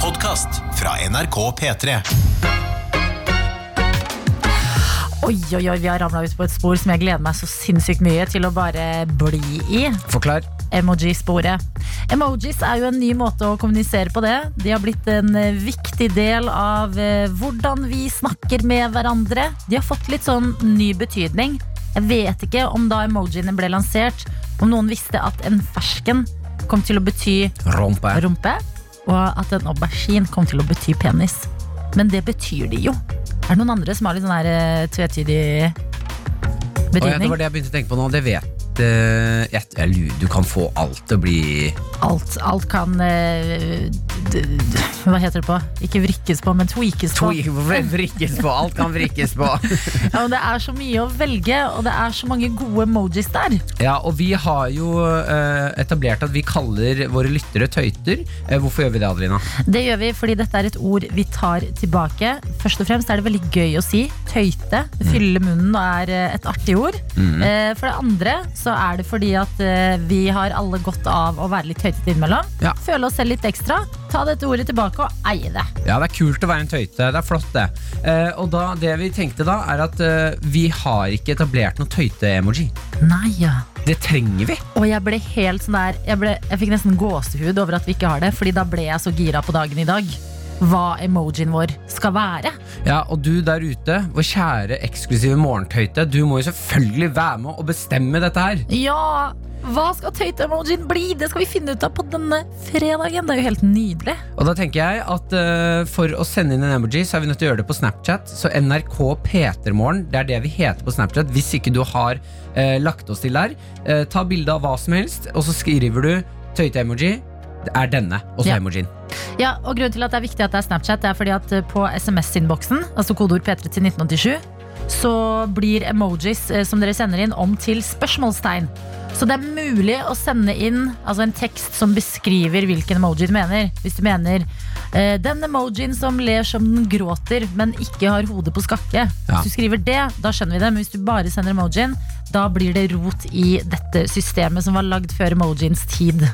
podkast fra NRK P3. Oi, oi, oi, vi har ramla ut på et spor som jeg gleder meg så sinnssykt mye til å bare bli i. Forklar. emoji-sporet. Emojis er jo en ny måte å kommunisere på det. De har blitt en eh, viktig del av eh, hvordan vi snakker med hverandre. De har fått litt sånn ny betydning. Jeg vet ikke om da emojiene ble lansert, om noen visste at en fersken kom til å bety Rumpe. rumpe, og at en aubergine kom til å bety penis. Men det betyr de jo. Er det noen andre som har litt sånn her eh, tvetydig Å, ja, det betydning? var det jeg begynte å tenke på nå. Det vet eh, jeg, jeg lurer, Du kan få alt til å bli Alt, alt kan eh, d- d- Hva heter det på? Ikke vrikkes på, men tweakes på. Tweak- Vrikkes på. Alt kan vrikkes på. Ja, og det er så mye å velge, og det er så mange gode emojis der. Ja, og vi har jo eh, etablert at vi kaller våre lyttere tøyter. Eh, hvorfor gjør vi det, Adelina? Det gjør vi fordi dette er et ord vi tar tilbake. Først og fremst er det veldig gøy å si. Tøyte. Det fyller munnen og er eh, et artig ord. Eh, For det andre så er det fordi at eh, vi har alle godt av å være litt tøytete innimellom. Ja. Føle oss selv litt ekstra. Ta dette ordet tilbake og eie det. Ja, det er kult å være en tøyte. Det er flott, det. Eh, og da, det vi tenkte da, er at eh, vi har ikke etablert noe tøyte-emoji. Nei, ja. Det trenger vi. Og jeg ble helt sånn der Jeg, ble, jeg fikk nesten gåsehud over at vi ikke har det, Fordi da ble jeg så gira på dagen i dag. Hva emojien vår skal være. Ja, og du der ute, vår kjære eksklusive morgentøyte, du må jo selvfølgelig være med og bestemme dette her. Ja! Hva skal tøyte-emojien bli? Det skal vi finne ut av på denne fredagen. Det er jo helt nydelig. Og da tenker jeg at eh, for å sende inn en emoji, så er vi nødt til å gjøre det på Snapchat. Så NRK P3morgen, det er det vi heter på Snapchat. Hvis ikke du har eh, lagt oss til der, eh, ta bilde av hva som helst, og så skriver du tøyte-emoji. Det er denne, og så Ja. emojien. Ja, og Grunnen til at det er viktig at det er Snapchat, det er fordi at eh, på SMS-innboksen, altså kodeord P3 til 1987, så blir emojis eh, som dere sender inn, om til spørsmålstegn. Så det er mulig å sende inn altså en tekst som beskriver hvilken emoji du mener. Hvis du mener eh, den emojien som ler som den gråter, men ikke har hodet på skakke. Ja. Hvis du skriver det, da skjønner vi det. Men hvis du bare sender emojien, da blir det rot i dette systemet som var lagd før emojiens tid.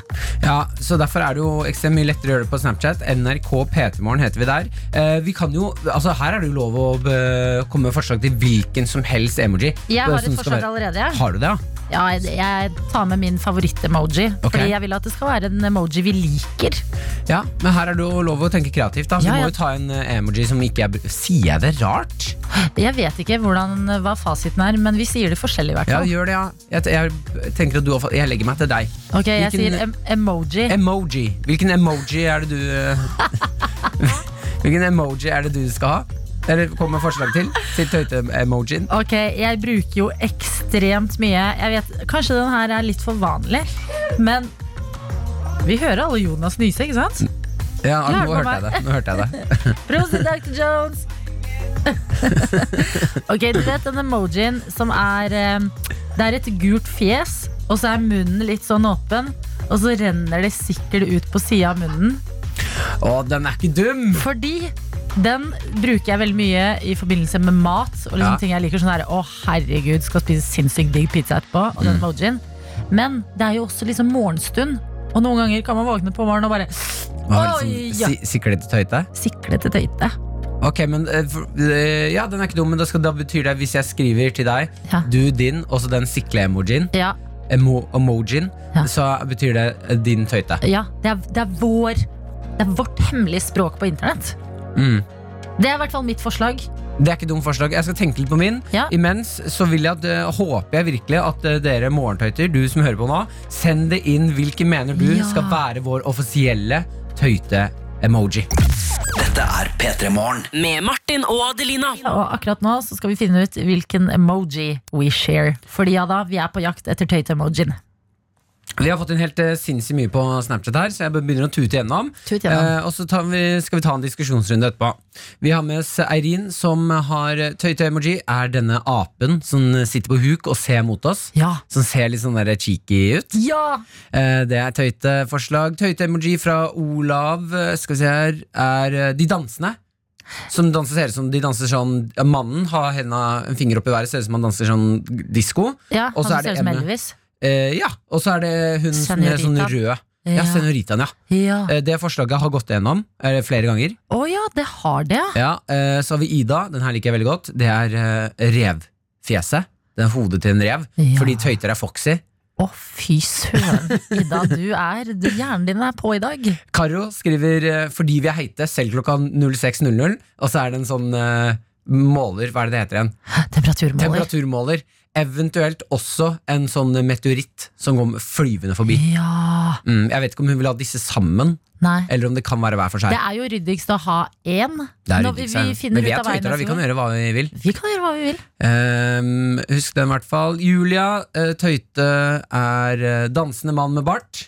Ja, så Derfor er det jo ekstremt mye lettere å gjøre det på Snapchat. NRK P3morgen heter vi der. Eh, vi kan jo, altså Her er det jo lov å eh, komme med forslag til hvilken som helst emoji. Jeg har eh, et som skal forslag være- allerede. jeg. Har du det, ja? Ja, jeg- jeg tar med min favoritt-emoji. Ok. Fordi jeg vil at det skal være en emoji vi liker. Ja, Men her er det jo lov å tenke kreativt. da Så Ja, Du ja. må jo ta en eh, emoji som ikke er br- Sier jeg det rart? Jeg vet ikke hvordan, hva fasiten er, men vi sier det forskjellig i hvert Ja, fall. gjør det, ja. Jeg, t- jeg tenker at du har fått Jeg legger meg til deg. Ok, jeg Hvilken- sier em emoji. Emoji. Hvilken emoji er det du eh, Hvilken emoji er det du skal ha? Eller kom med forslag til? Til tøyte-emojien. Ok, jeg bruker jo ekstremt mye. Jeg vet, Kanskje den her er litt for vanlig, men vi hører alle Jonas nyse, ikke sant? Ja, Klart nå på hørte jeg meg. det. Nå hørte jeg det. Prost, Dr. Jones! ok, du vet den emojien som er eh, Det er et gult fjes, og så er munnen litt sånn åpen. Og så renner det sikkert ut på sida av munnen. Å, den er ikke dum! Fordi den bruker jeg veldig mye i forbindelse med mat. Og liksom Ja. ting jeg liker sånn her, Å, herregud, skal spise sinnssykt digg pizza etterpå. Og Mm. den emojien. Men det er jo også liksom morgenstund. Og noen ganger kan man våkne på morgenen og bare Var Oi, det ja. sånn, si, siklet tøyte? Siklete tøyte. Ok, men eh, for, eh, Ja, den er ikke dum, men da, skal, da betyr det hvis jeg skriver til deg, Ja. du din, og så den sikle-emojien, Ja, emo, emojien, Ja. så betyr det eh, din tøyte. ja det, er, det er vår Det er vårt hemmelige språk på internett. Mm. Det er i hvert fall mitt forslag. Det er ikke dumt forslag. Jeg skal tenke litt på min. Ja. Imens så vil jeg at, eh, håper jeg virkelig at eh, dere morgentøyter, du som hører på nå, send det inn hvilken mener du Ja. skal være vår offisielle tøyte-emoji. Dette er P3 Morgen. Med Martin og Adelina. Og akkurat nå så skal vi finne ut hvilken emoji we share. Fordi ja da, vi er på jakt etter tøyte-emojien. Vi har fått inn helt eh, sinnssykt mye på Snapchat her, så jeg begynner å tute gjennom. Tut gjennom. Eh, og så tar vi, skal vi ta en diskusjonsrunde etterpå. Vi har med oss Eirin, som har eh, tøyte-emoji. Er denne apen som sitter på huk og ser mot oss? Ja. Som ser litt sånn der cheeky ut. Ja! Eh, det er tøyteforslag. Tøyte-emoji fra Olav eh, skal vi se her, er eh, de dansende. Som danser, ser ut som de danser sånn ja, Mannen har henda en finger opp i været, ser ut som han danser sånn disko. ja Og han så ser er det ut som Emme. Elvis. Eh, ja, og så er det hun som er sånn Senorita. rød. Ja. Ja, Senoritan, ja. Ja. Eh, Det forslaget har gått gjennom eh, flere ganger. Å ja, det har det, ja. Ja, eh, Så har vi Ida. Den her liker jeg veldig godt. Det er eh, revfjeset. Den er hodet til en rev. Ja. Fordi tøyter er foxy. Å, fy søren. Ida, du er du, Hjernen din er på i dag. Karo skriver eh, 'fordi vi er heite' selv klokka 06.00, og så er det en sånn eh, måler, hva er det det heter igjen? Temperaturmåler. Temperaturmåler. Eventuelt også en sånn meteoritt som går flyvende forbi. Ja. Mm, jeg vet ikke om hun vil ha disse sammen, Nei. eller om det kan være hver for seg. Det er jo ryddigst å ha én. Det er når vi, ryddig, vi Svein. finner Men vi ut er av veien. tøytere, vi kan gjøre hva vi vil. Vi kan gjøre hva vi vil. Ehm, husk den i hvert fall. Julia eh, Tøyte er eh, dansende mann med bart.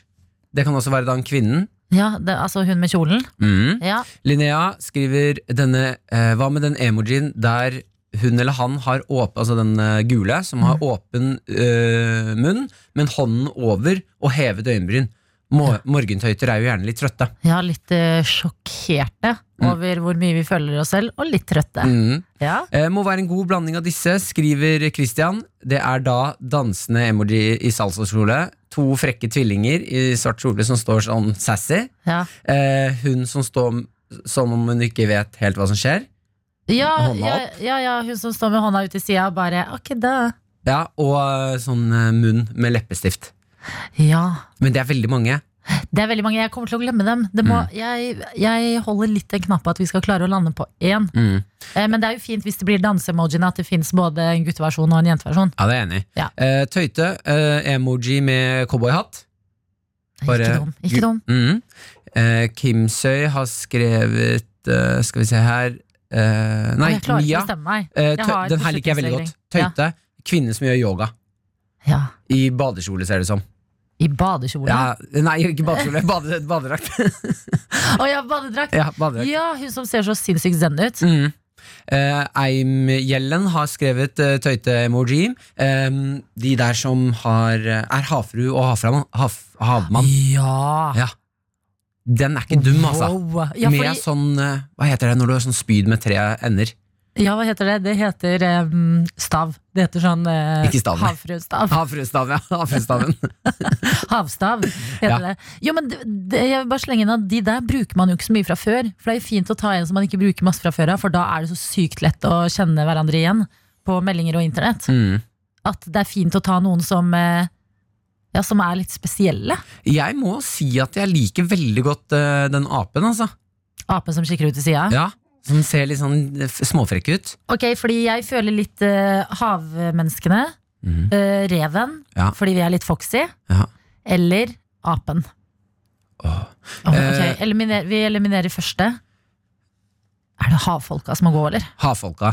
Det kan også være den kvinnen. Ja, det, altså hun med kjolen. Mm. Ja. Linnea skriver denne eh, Hva med den emojien der hun eller han har åpen Altså den eh, gule som har åpen eh, munn, men hånden over og hevet øyenbryn. Mo morgentøyter er jo gjerne litt trøtte. ja, litt eh, sjokkerte over hvor mye vi føler oss selv, og litt trøtte. Mm. Ja. Eh, må være en god blanding av disse, skriver Christian. Det er da dansende emoji i salsaskjole. To frekke tvillinger i svart kjole som står sånn sassy. Ja. Eh, hun som står m- som om hun ikke vet helt hva som skjer. Ja, Hånda ja, opp. ja, ja, hun som står med hånda ut til sida og bare Ok, da. Ja, Og eh, sånn eh, munn med leppestift. Ja. Men det er veldig mange. Det er veldig mange. Jeg kommer til å glemme dem. Det må, Mm. jeg, jeg holder litt en knapp på at vi skal klare å lande på én. Mm. Eh, Men det er jo fint hvis det blir danse-emojiene, at det fins både en gutteversjon og en jenteversjon. Ja, det er jeg enig i. Ja. Eh, tøyte, eh, emoji med cowboyhatt. Ikke dum. Ikke dum. Mhm. Eh, Kim Søy har skrevet eh, Skal vi se her eh, Nei, jeg klarer Mia. ikke å bestemme meg. Eh, Jeg tø har den her liker jeg veldig godt. beslutningsvegring. Tøyte. Kvinne som gjør yoga. Ja. I badekjole, ser det ut som. I badekjole. Ja, nei, ikke badekjole. Bade, badedrakt. Å ja, badedrakt. ja, badedrakt. Ja, hun som ser så sinnssykt zen ut. Mm. Eh, Eim Gjellen har skrevet eh, tøyte-emoji. Em, de der som har, eh, er havfru og havfram, hav, havmann. Ja. Ja. Den er ikke dum, altså. Wow. Ja, Med fordi, sånn eh, Hva heter det når du har sånn spyd med tre ender? ja, hva heter det? Det heter em, stav. Det heter sånn eh, Ikke stav, nei. havfruestav. Havfruestaven, ja. Havfruestaven. Havstav heter Ja. det. Jo, men det, det, jeg vil bare slenge inn at de der bruker man jo ikke så mye fra før. For det er jo fint å ta en som man ikke bruker masse fra før av, for da er det så sykt lett å kjenne hverandre igjen på meldinger og internett. mm. At det er fint å ta noen som eh, ja, som er litt spesielle. Jeg må si at jeg liker veldig godt eh, den apen, altså. Apen som kikker ut til sida. Ja, Som ser litt sånn eh, f- småfrekk ut. Ok, fordi jeg føler litt eh, havmenneskene. Mhm. eh, reven, Ja. fordi vi er litt foxy. Ja. Eller apen. Åh. Oh, Eh. Eliminer, vi eliminerer første. Er det havfolka som må gå, eller? Havfolka.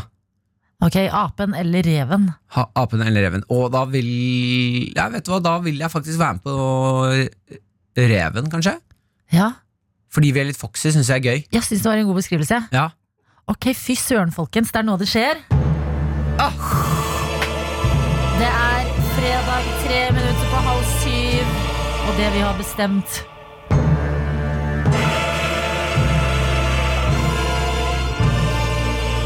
Ok, apen eller reven. Ha, apen eller reven. Og da vil jeg vet du hva, da vil jeg faktisk være med på eh, reven, kanskje. Ja, Fordi vi er litt foxy, syns jeg er gøy. jeg syns det var en god beskrivelse. Ja. Ok, fy søren, folkens. Det er nå det skjer. Ah. Det er fredag tre minutter på halv syv, og det vi har bestemt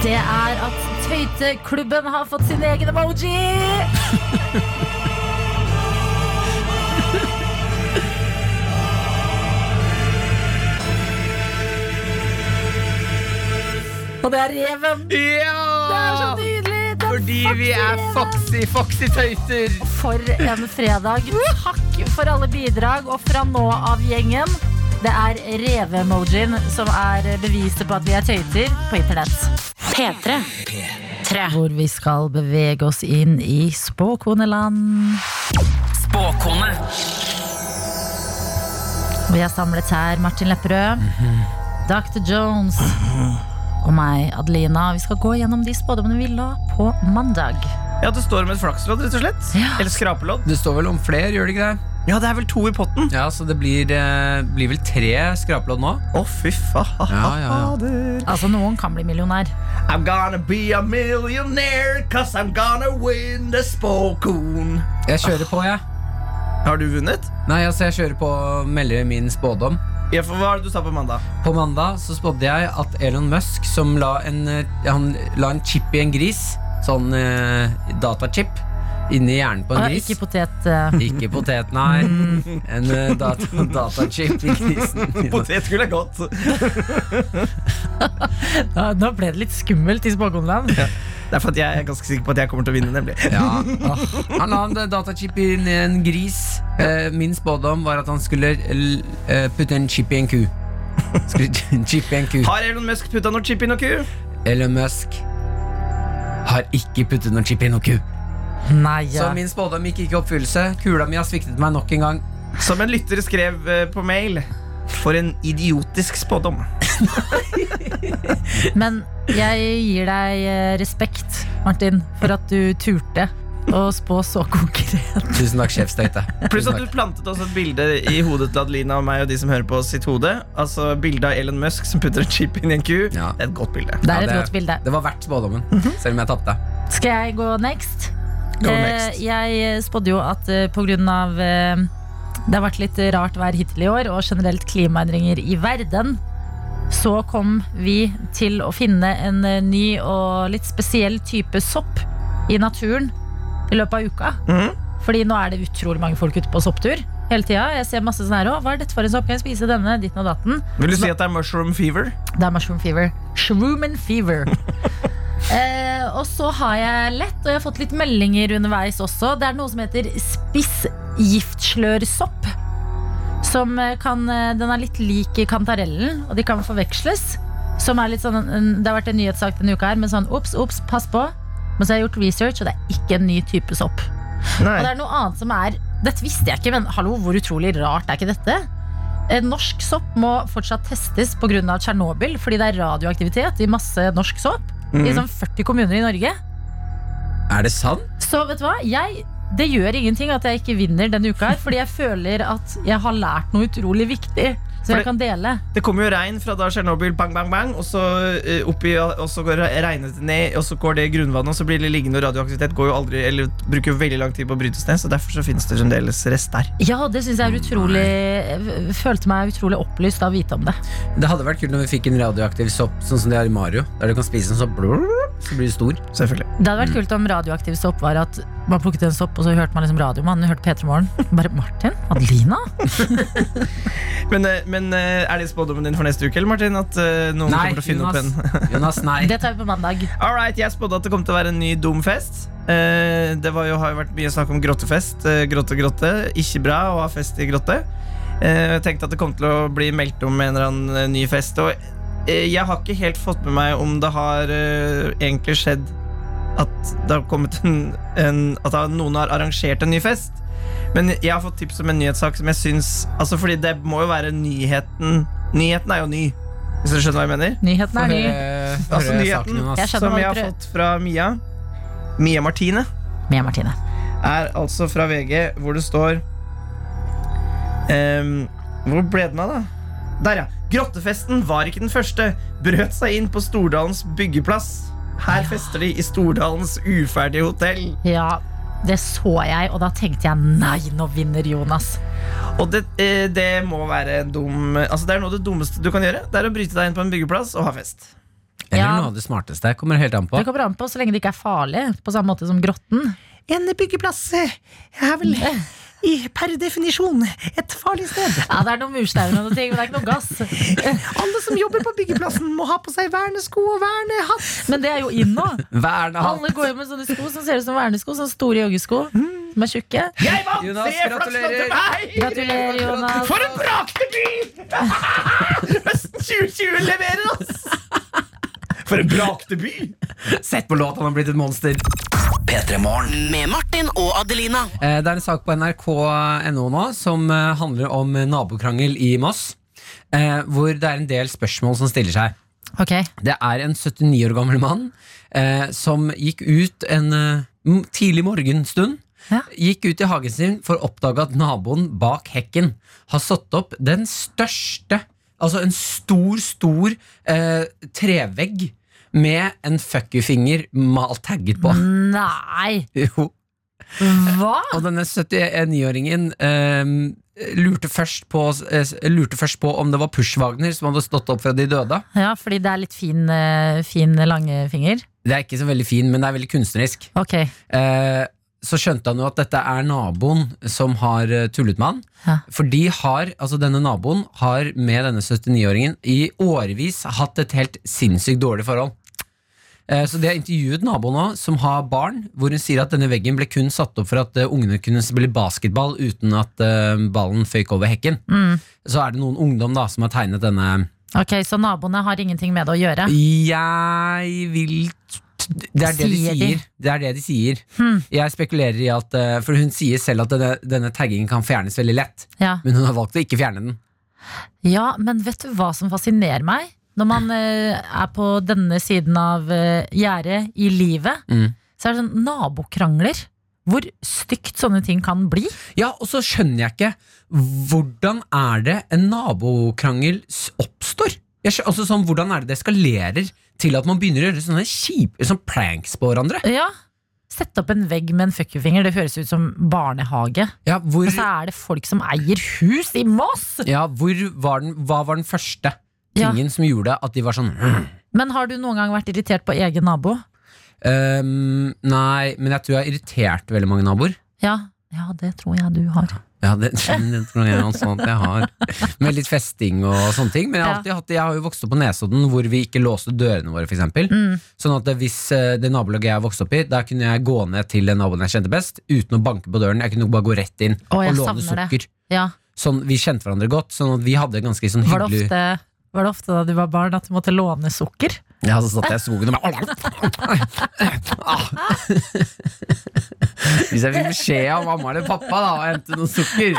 Det er at Tøyteklubben har fått sin egen emoji! Og det er reven! Det er så nydelig! Det er fucking reven. foxy, foxy tøyter! For en fredag. Takk for alle bidrag. Og fra nå av, gjengen, det er reve-emojien som er beviset på at vi er tøyter på internett. P3. Hvor vi skal bevege oss inn i spåkoneland. Spåkone. Vi er samlet her, Martin Lepperød, Dr. Jones Mhm. og meg, Adelina. Vi skal gå gjennom de spådommene vi la på mandag. Ja, det står om et flakslodd, rett og slett. Ja. Eller skrapelodd. Det står vel om flere, gjør det ikke det? Ja, det er vel to i potten. Ja, Så det blir, eh, blir vel tre skrapelodd nå? Å, fy fader. Ja, ja, Altså, noen kan bli millionær. I'm gonna be a millionaire, cause I'm gonna win the spåkon. Jeg kjører på, jeg. Har du vunnet? Nei, altså Jeg kjører på å melde min spådom. Ja, for hva var det du sa på mandag? På mandag så spådde jeg at Elon Musk, som la en, eh, han la en chip i en gris, sånn eh, datachip, inni hjernen på en Og gris. Ah, ikke potet... eh, Ikke potet, nei. En eh, data, datachip i grisen. Potetgull er godt. Ja, nå ble det litt skummelt i spåkonland. Det er for at jeg er ganske sikker på at jeg kommer til å vinne, nemlig. Ja. Han la en datachip i en- en gris. Eh, Min spådom var at han skulle l- eh, putte en chip i en ku. Skulle ch- chip i en ku. Har Elon Musk putta noe chip i noe ku? Elon Musk har ikke puttet noen chip i noen ku. Nei, ja. Så min spådom gikk ikke i oppfyllelse. Kula mi har sviktet meg nok en gang. Som en lytter skrev eh, på mail. For en idiotisk spådom. Men jeg gir deg eh, respekt, Martin, for at du turte å spå så konkret. Tusen takk, sjefstøyte. Pluss at du plantet også et bilde i hodet til Adelina og meg og de som hører på sitt hode. Altså Bildet av Elon Musk som putter en chip inn i en ku. Ja. Det er et godt bilde. Det er et godt bilde. Det var verdt spådommen, Mhm. selv om jeg tapte. Skal jeg gå next? Go Eh, next. Jeg spådde jo at eh, på grunn av eh, det har vært litt rart vær hittil i år, og generelt klimaendringer i verden, så kom vi til å finne en eh, ny og litt spesiell type sopp i naturen i løpet av uka. Mhm. Fordi nå er det utrolig mange folk ute på sopptur hele tida. Jeg ser masse sånn her òg. Hva er dette for en sopp? Kan jeg spise denne? Ditten og datten. Vil du si at det er mushroom fever? Det er mushroom fever. Shroom and fever. eh, og så har jeg lett, og jeg har fått litt meldinger underveis også. Det er noe som heter spissgiftslørsopp. Som eh, kan, eh, den er litt lik kantarellen, og de kan forveksles. Som er litt sånn, en- det har vært en nyhetssak denne uka her, men sånn ops, ops, pass på. Men så har jeg gjort research, og det er ikke en ny type sopp. Og det er noe annet som er Dette visste jeg ikke, men hallo, hvor utrolig rart er ikke dette? Eh, Norsk sopp må fortsatt testes pga. Tsjernobyl, fordi det er radioaktivitet i masse norsk sopp. Mhm. I sånn 40 kommuner i Norge. Er det sant? Så vet du hva? Jeg, det gjør ingenting at jeg ikke vinner denne uka, her, fordi jeg føler at jeg har lært noe utrolig viktig som det- jeg kan dele. Det kommer jo regn fra da Tsjernobyl, bang, bang, bang, og så eh, oppi, og så går det- regnet det ned, og så går det i grunnvannet, og så blir det liggende og radioaktivitet. Går jo aldri, eller Bruker jo veldig lang tid på å brytes ned, så derfor så finnes det fremdeles rest der. Ja, det syns jeg er utrolig jeg Følte meg utrolig opplyst av å vite om det. Det hadde vært kult når vi fikk en radioaktiv sopp, sånn som de har i Mario. Der du kan spise en sopp, så blir du stor. Selvfølgelig. Det hadde vært kult om radioaktiv sopp var at man plukket en sopp, og så hørte man liksom radiomannen, hørte P3 Morgen. Bare Martin? Adelina? Men, eh, men eh, er det spådommen din for neste uke, eller Martin? At eh, noen kommer til å finne opp en Jonas, nei. Det tar vi på mandag. Alright, Jeg spådde at det kom til å være en ny dum fest. Eh, det var jo, har jo vært mye snakk om grottefest. Eh, grotte, grotte. Ikke bra å ha fest i grotte. Eh, jeg tenkte at det kom til å bli meldt om en eller annen eh, ny fest. Og eh, jeg har ikke helt fått med meg om det har eh, egentlig skjedd at, det har kommet en, en, at noen har arrangert en ny fest. Men jeg har fått tips om en nyhetssak som jeg syns altså Fordi det må jo være nyheten Nyheten er jo ny, hvis dere skjønner hva jeg mener? Nyheten er ny. Altså, Høre nyheten. saken, Jonas. Jeg skjønner. Som hva jeg du har prøver. fått fra Mia. Mia Martine Med Martine. er altså fra VG, hvor det står ehm, Hvor ble den av, da? Der, ja. Grottefesten var ikke den første. Brøt seg inn på Stordalens byggeplass. Her fester de i Stordalens uferdige hotell. Ja, det så jeg, og da tenkte jeg nei, nå vinner Jonas. Og det, eh, det må være en dum Altså Det er noe av det dummeste du kan gjøre. Det er å bryte deg inn på en byggeplass og ha fest. Eller Ja. noe av det smarteste. Kommer helt an på. Det kommer an på så lenge det ikke er farlig, på samme måte som grotten. En byggeplass er vel per definisjon et farlig sted. Ja, det er noen mursteiner og noen ting, men det er ikke noe gass. Alle som jobber på byggeplassen må ha på seg vernesko og vernehatt. Men det er jo inn nå. Verna Alle går jo med sånne sko som ser ut som vernesko, sånne store joggesko som er tjukke. Jeg vant! Jonas, Se, flaks gratulerer. til meg! Gratulerer, Jonas. For en brakdebut! Høsten 2020 leverer, ass! For en brakdebut! Sett på låt, han har blitt et monster. P3 Morgen. Med Martin og Adelina. Eh, Det er en sak på nrk.no nå som eh, handler om eh, nabokrangel i Moss. eh, Hvor det er en del spørsmål som stiller seg. Ok, Det er en 79 år gammel mann eh, som gikk ut en eh, m- tidlig morgenstund. Ja. Gikk ut i hagen sin for å oppdage at naboen bak hekken har satt opp den største Altså en stor, stor eh, trevegg med en fuck you-finger malt tagget på. Mm. Nei, Jo. hva? Og denne 79-åringen ehm, lurte, først på, eh, lurte først på om det var Pushwagner som hadde stått opp fra de døde. Ja, fordi det er litt fin, eh, fin lange finger. Det er ikke så veldig fin, men det er veldig kunstnerisk. Ok, Eh, så skjønte han jo at dette er naboen som har eh, tullet med han. Ja. For de har, altså denne naboen har med denne 79-åringen i årevis hatt et helt sinnssykt dårlig forhold. Eh, Så de har intervjuet naboen nå, som har barn, hvor hun sier at denne veggen ble kun satt opp for at eh, ungene kunne spille basketball uten at eh, ballen føyk over hekken. Så er det noen ungdom da som har tegnet denne Ok, Så naboene har ingenting med det å gjøre? jeg vil t- Det er det de Sier de? Hmm. sier. Det er det de sier. Jeg spekulerer i at eh, For hun sier selv at denne, denne taggingen kan fjernes veldig lett. Ja. Men hun har valgt å ikke fjerne den. ja, men vet du hva som fascinerer meg? Når man eh, er på denne siden av uh, gjerdet i livet, Mm. så er det sånn nabokrangler. Hvor stygt sånne ting kan bli. Ja, og så skjønner jeg ikke Hvordan er det en nabokrangel s- oppstår? Jeg skjø- altså sånn, Hvordan er det det eskalerer til at man begynner å gjøre sånne kjipe sånn planks på hverandre? Ja, Sette opp en vegg med en fuck you-finger, det høres ut som barnehage. Ja, hvor, Men så er det folk som eier hus i Moss! ja, hvor var den, Hva var den første Ja. tingen som gjorde at de var sånn Men har du noen gang vært irritert på egen nabo? Ehm, nei, men jeg tror jeg har irritert veldig mange naboer. Ja, ja det tror jeg du har. Ja, det, det tror jeg også at jeg har. Med litt festing og sånne ting. Men jeg har, Ja. alltid hatt, jeg har jo vokst opp på Nesodden, hvor vi ikke låste dørene våre. For eksempel. Mm. Sånn at hvis eh, det nabolaget jeg vokste opp i, der kunne jeg gå ned til den naboen jeg kjente best, uten å banke på døren. Jeg kunne bare gå rett inn Å, jeg og låne savner det. sukker. Ja, Sånn, vi kjente hverandre godt, sånn at vi hadde ganske sånn var det, hyggelig ofte, var det ofte da du var barn at du måtte låne sukker? Ja, så satt jeg i skogen og bare Hvis jeg fikk beskjed av mamma eller pappa da å hente noe sukker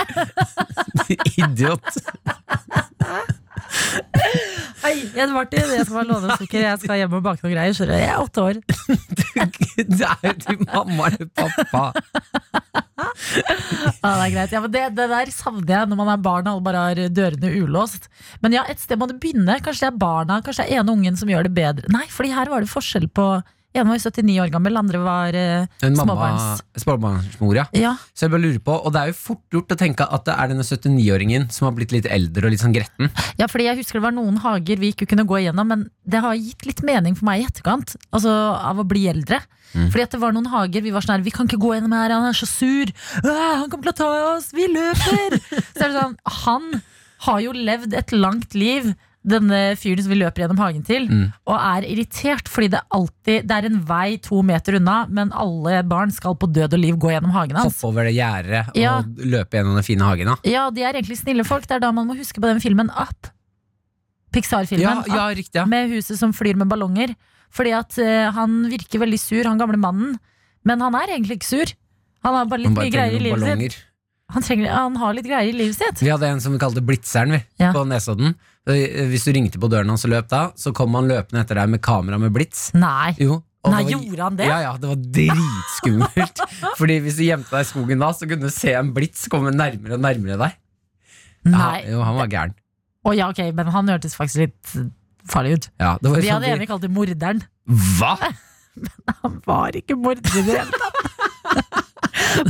Idiot. Nei, det var ikke det som var låne sukker. Jeg skal hjem og bake noen greier. skjønner du. Jeg er åtte år. Det er jo til mamma eller pappa. Ja, det er greit. Ja, men det, det der savner jeg når man er barn og alle bare har dørene ulåst. Men ja, et sted må det begynne. Kanskje det er barna, kanskje det er ene ungen som gjør det bedre. Nei, fordi her var det forskjell på En var 79 år gammel, andre var eh, En mamma, småbarns. småbarnsmor, ja. Ja, Så jeg bare lurer på, og det er jo fort gjort å tenke at det er denne 79-åringen som har blitt litt eldre og litt sånn gretten. Ja, fordi jeg husker det var noen hager vi ikke kunne gå igjennom, men det har gitt litt mening for meg i etterkant, altså av å bli eldre. Mm. Fordi at det var noen hager vi var sånn her, vi kan ikke gå gjennom her, han er så sur, Åh, han kommer til å ta oss, vi løper! så er det sånn, han har jo levd et langt liv, denne fyren som vi løper gjennom hagen til, Mm. og er irritert fordi det alltid, det er en vei to meter unna, men alle barn skal på død og liv gå gjennom hagen hans. Hoppe over det gjerdet og Ja. løpe gjennom den fine hagen. da. Ja, de er egentlig snille folk, det er da man må huske på den filmen Up. Pixar-filmen Ja, Up ja, riktig. Ja. med huset som flyr med ballonger. Fordi at eh, han virker veldig sur, han gamle mannen. Men han er egentlig ikke sur. Han har bare litt Man bare mye greier i trenger livet noen sitt. Han, trenger, han har litt greier i livet sitt. Vi hadde en som vi kalte Blitzeren vi, Ja. på Nesodden. Eh, Hvis du ringte på døren hans og løp da, så kom han løpende etter deg med kamera med blits. Nei. Jo, og Nei, det var- gjorde han det? Ja, ja, det var dritskummelt. Fordi hvis du gjemte deg i skogen da, så kunne du se en blits komme nærmere og nærmere deg. Ja, Nei. jo, han var gæren. Å ja, ok, men han hørtes faktisk litt eh, farlig ut. Ja, det var Vi sånn hadde vi- enig kalt det morderen. Hva?! Han var ikke morder i det hele tatt.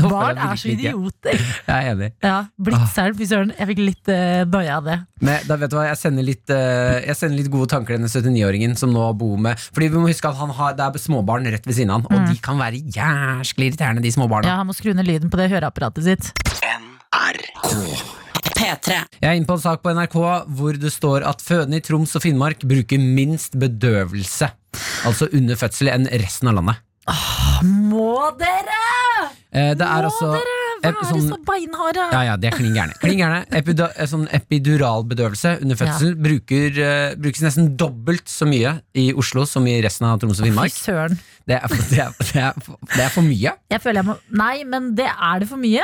Barn er så virkelig ikke. Ah. idioter. Jeg er enig. Ja, Blitzelv, fy søren. Jeg fikk litt eh, noia av det. Men da vet du hva, jeg sender litt, eh, jeg sender litt gode tanker til denne 79-åringen som nå bor med Fordi vi må huske at han har, det er småbarn rett ved siden av han, Mm. og de kan være jæsklig irriterende, de småbarna. Ja, Han må skru ned lyden på det høreapparatet sitt. P3. Jeg er inne på en sak på NRK hvor det står at fødende i Troms og Finnmark bruker minst bedøvelse, altså under fødsel, enn resten av landet. Må dere! Eh, Det er Må også dere! Hva ep- er det sånn- så beinharde? ja, ja, det er klin gærne. Klin gærne. Epidu- eh, Sånn epiduralbedøvelse under fødsel bruker, eh, brukes nesten dobbelt så mye i Oslo som i resten av Troms og Fy Finnmark. søren. Det er, for- det er, det er, for- det er for mye. Jeg føler jeg må Nei, men det er det for mye.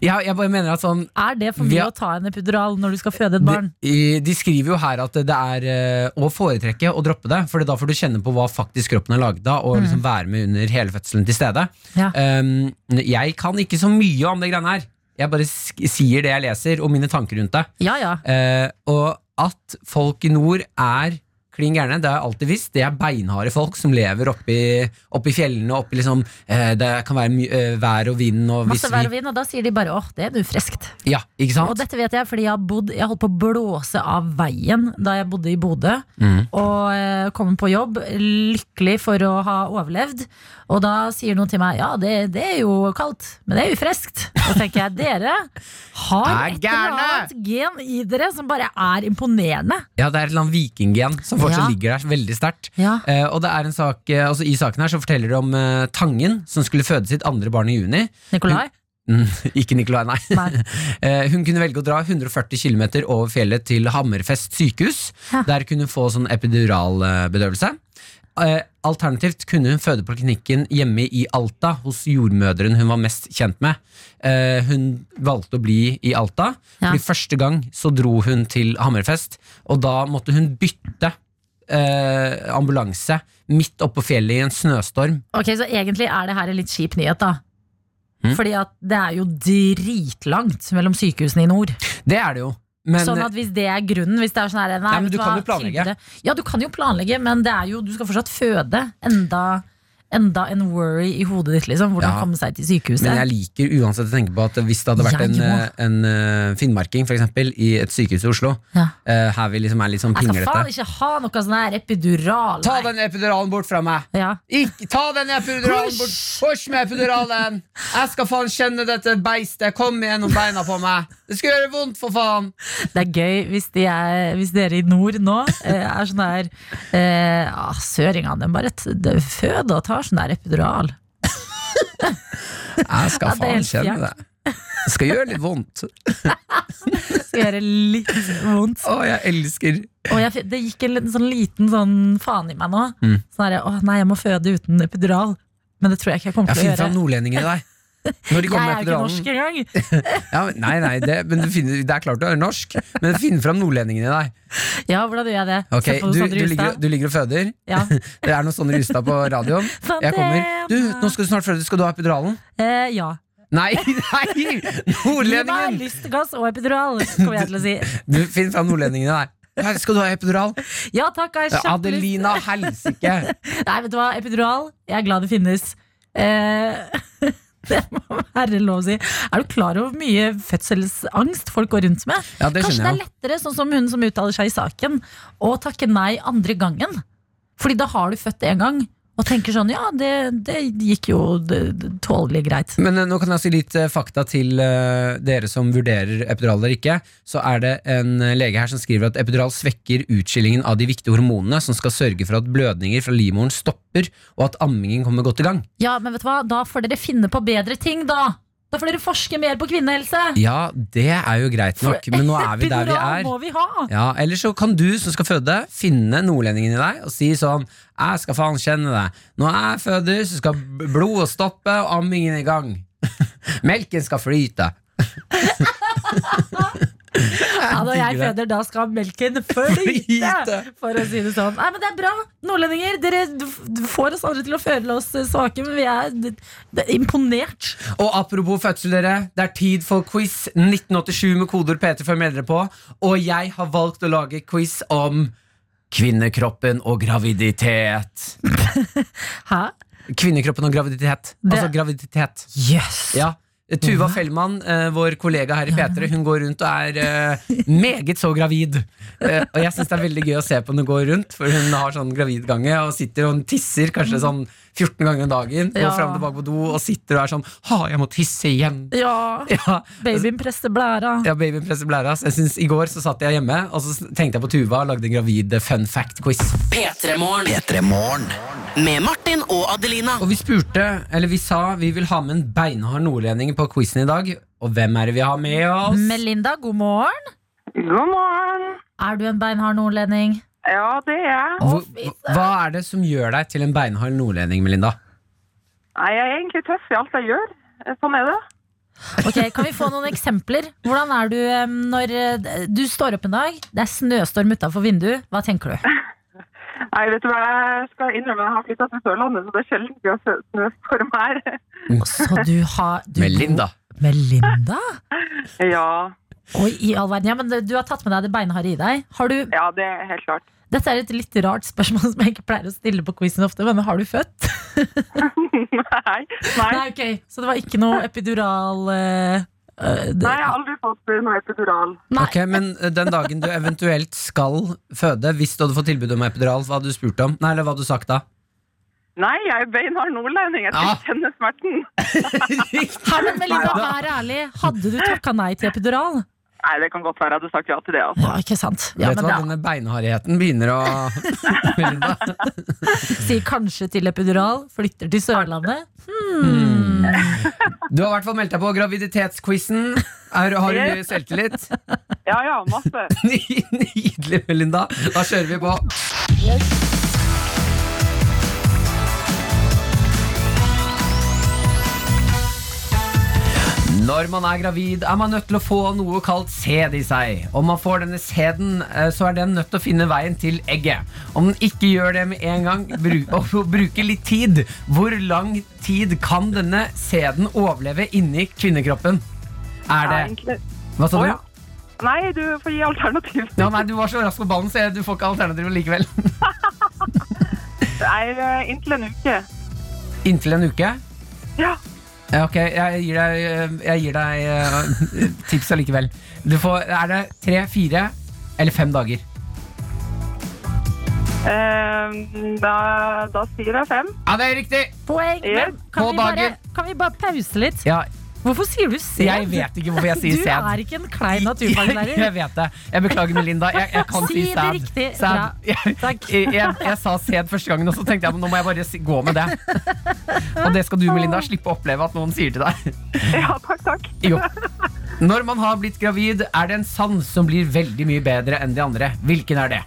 Jeg, jeg bare mener at sånn Er det for mye Vi har- å ta en epidural når du skal føde et barn? De, de skriver jo her at det er eh, å foretrekke å droppe det, for da får du kjenne på hva faktisk kroppen er laget av, og liksom være med under hele fødselen til stede. Mm. Ja. Um, jeg kan ikke så mye om det greiene her. Jeg bare sk sier det jeg leser, Eh, og mine tanker rundt det. Ja ja. Eh, og at folk i nord er klin gærne. Det har jeg alltid visst. Det er beinharde folk som lever oppi, oppi fjellene. Oppi liksom, eh, det kan være my eh, vær og vind. Og hvis Masse vær og vi, vind, og da sier de bare åh, det er nå friskt. ja, ikke Og sant? dette vet jeg fordi jeg har bodd Jeg holdt på å blåse av veien da jeg bodde i Bodø. Mm. Og eh, kom på jobb, lykkelig for å ha overlevd. Og da sier noen til meg ja, det, det er jo kaldt, men det er jo friskt. Og tenker jeg dere har Er et eller annet gen i dere som bare er imponerende. Ja, det er et eller annet vikinggen som fortsatt Ja. ligger der veldig sterkt. Ja. Eh, og det er en sak, eh, altså I saken her så forteller de om eh, Tangen, som skulle føde sitt andre barn i juni. Nikolai? Mm, Ikke Nicolai, nei. Nei. Eh, Hun kunne velge å dra 140 km over fjellet til Hammerfest sykehus. Ja. Der kunne hun få sånn epiduralbedøvelse. Eh, Alternativt kunne hun føde på klinikken hjemme i Alta, hos jordmødren hun var mest kjent med. Eh, Hun valgte å bli i Alta, Ja. fordi første gang så dro hun til Hammerfest, og da måtte hun bytte eh, ambulanse midt oppå fjellet i en snøstorm. Ok, Så egentlig er det her en litt kjip nyhet, da. Mm. Fordi at det er jo dritlangt mellom sykehusene i nord. Det er det jo. Men, sånn at hvis det er grunnen Hvis det er sånn her, nei, Nei, men vet du hva, kan jo planlegge. tilbudet- Ja, du kan jo planlegge, men det er jo, du skal fortsatt føde. Enda, enda en worry i hodet ditt, liksom. Hvordan Ja. komme seg til sykehuset. Men jeg liker uansett å tenke på at hvis det hadde vært Jeg en, må. eh, en eh, finnmarking for eksempel, i et sykehus i Oslo, Ja. eh, her vi liksom er litt sånn jeg skal faen pinglete ikke ha noe sånn her epidural. Ta nei. den epiduralen bort fra meg! Ja. Ikk- ta den epiduralen bort! Hysj med epiduralen! Jeg skal faen kjenne dette beistet komme gjennom beina på meg! Det skal gjøre vondt, for faen! Det er gøy hvis, de er, hvis dere i nord nå eh, er sånn her eh, ah, Søringene de bare t- de føder og tar sånn der epidural. Jeg Ja, skal det er helt det. Det skal gjøre litt vondt. Skal gjøre litt vondt. Å, jeg elsker Og jeg, f- det gikk en liten, sånn liten sånn faen i meg nå. Mm. Sånn her, Åh, nei, jeg må føde uten epidural. Men det tror jeg ikke jeg kommer Jeg til å finner fram gjøre. nordlendinger i deg. Når de Jeg er jo kommer med ikke epiduralen. norsk engang. Ja, men- nei, nei, det, men du finner, det er klart du er norsk, men finn fram nordlendingen i deg. Ja, hvordan gjør jeg det? Ok, Se på du, Sondre du, ligger, Justad. du ligger og føder. Ja. Det er noe sånn Rustad på radioen. Jeg kommer. Du, nå skal du snart føde. Skal du ha epiduralen? Eh, ja. Nei, nei! Gi meg Nordlendingen! lystgass og epidural, kommer jeg til å si. Du, Finn fram nordlendingene der. Her skal du ha epidural? Ja takk, jeg har kjempelyst. Adelina helsike! Nei, vet du hva, epidural, jeg er glad det finnes. Eh, det må være lov å si. Er du klar over hvor mye fødselsangst folk går rundt med? Ja, Kanskje det det skjønner er jeg. jo. lettere, sånn som hun som uttaler seg i saken, å takke nei andre gangen. Fordi da har du født en gang, og tenker sånn ja, det, det gikk jo det- det- tålelig greit. Men eh, nå kan jeg si litt eh, fakta til eh, dere som vurderer epidural eller ikke. Så er det en eh, lege her som skriver at epidural svekker utskillingen av de viktige hormonene som skal sørge for at blødninger fra livmoren stopper, og at ammingen kommer godt i gang. Ja, men vet du hva, da får dere finne på bedre ting, da! Da får dere forske mer på kvinnehelse! Ja, det er jo greit nok, men nå er vi der vi Epidural er. må vi ha! Ja, Eller så kan du som skal føde, finne nordlendingen i deg og si sånn Jeg skal faen kjenne deg. Når jeg føder, så skal b- blodet stoppe og ammingen i gang. Melken skal flyte. Ja, når jeg digger føder, da skal melken flyte! Flyte. For å si det sånn. Nei, men det er bra! Nordlendinger, dere du du får oss andre til å føle oss eh, svake, men vi er d- d- imponert. Og apropos fødsel, dere. Det er tid for quiz 1987 med kodeord P3 før dere på. Og jeg har valgt å lage quiz om kvinnekroppen og graviditet. Hæ? Kvinnekroppen og graviditet. Altså Det- graviditet. Yes. Ja. Tuva Mhm. Fellmann, eh, vår kollega her i P3, hun går rundt og er eh, meget så gravid. Eh, og jeg syns det er veldig gøy å se på når hun går rundt, for hun har sånn gravidgange og sitter og tisser kanskje sånn 14 ganger om dagen, går Mhm. Ja. fram og tilbake på do og sitter og er sånn Ha, jeg må tisse igjen! Ja. Ja, Babyen presser blæra. ja babyen presser blæra. Så jeg synes, I går så satt jeg hjemme og så tenkte jeg på Tuva og lagde en gravid eh, fun fact-quiz. P3-morgen. P3-morgen. Med Martin og Adelina. Og vi spurte, eller vi sa, vi vil ha med en beinhard nordlending på quizen i dag. Og hvem er det vi har med oss? Melinda, god morgen. God morgen. Er du en beinhard nordlending? Ja, det er jeg. Hvor, hva er det som gjør deg til en beinhard nordlending, Melinda? Nei, jeg er egentlig tøff i alt jeg gjør. Sånn er det. Ok, Kan vi få noen eksempler? Hvordan er du em, når eh, du står opp en dag, det er snøstorm utafor vinduet, hva tenker du? Nei, vet du hva, jeg skal innrømme jeg har flytta til Sørlandet, så det er sjelden vi har sø- snøstorm her. Så du har du, Melinda. Melinda? Ja. Oi, i all verden. Ja, men du har tatt med deg det beinharde i deg. Har du, Ja, det er helt klart. dette er et litt rart spørsmål som jeg ikke pleier å stille på quizen ofte, men har du født? Nei. Nei. Nei, ok. Så det var ikke noe epidural eh, eh, det- Nei, jeg har aldri fått eh, noe epidural. Nei. Ok, Men eh, den dagen du eventuelt skal føde, hvis du hadde fått tilbud om epidural, hva hadde du spurt om? Nei, eller hva hadde du sagt da? Nei, jeg er beinhard nordlending. Jeg Ja. skal kjenne smerten. Her, men Melinda, vær ærlig. Hadde du takka nei til epidural? Nei, det kan godt være jeg hadde sagt ja til det, altså. Ja, ikke sant? Ja, Vet du men hva, da Denne beinhardheten begynner å Melinda. sier kanskje til epidural, flytter til Sørlandet. Du har i hvert fall meldt deg på graviditetsquizen. Er- Har du mye selvtillit? Ja, ja, masse. Nydelig, Melinda. Da kjører vi på. Når man er gravid, er man nødt til å få noe kalt sæd i seg. Om man får denne sæden, eh, så er den nødt til å finne veien til egget. Om den ikke gjør det med en gang, bru- og får bruke litt tid. Hvor lang tid kan denne sæden overleve inni kvinnekroppen? Er det Egentlig. Hva sa Å, du? ja. Nei, du får gi alternativ. Ja, nei, Du var så rask på ballen, så jeg- du får ikke alternativet likevel. Nei, eh, inntil en uke. Inntil en uke? Ja. Ja, ok, jeg gir deg, eh, jeg gir deg eh, tips allikevel. Du får, er det tre, fire eller fem dager? Eh, da, da sier jeg fem. Ja, det er riktig! Poeng! Ja. Men kan, På vi bare, dagen. kan vi bare pause litt? Ja, Hvorfor sier du sæd? jeg vet ikke hvorfor jeg sier Du sæd. er ikke en klein Jeg, jeg naturfaglærer. vet det. Jeg beklager, Melinda. Jeg, jeg kan Si si det sæd. riktig. Sæd. Bra. Jeg, Takk. jeg, jeg sa sæd første gangen, og så tenkte jeg men nå må jeg bare si- gå med det. Og det skal du, Melinda, slippe å oppleve at noen sier til deg. Ja, takk, takk. Jo. Når man har blitt gravid, er det en sans som blir veldig mye bedre enn de andre. Hvilken er det?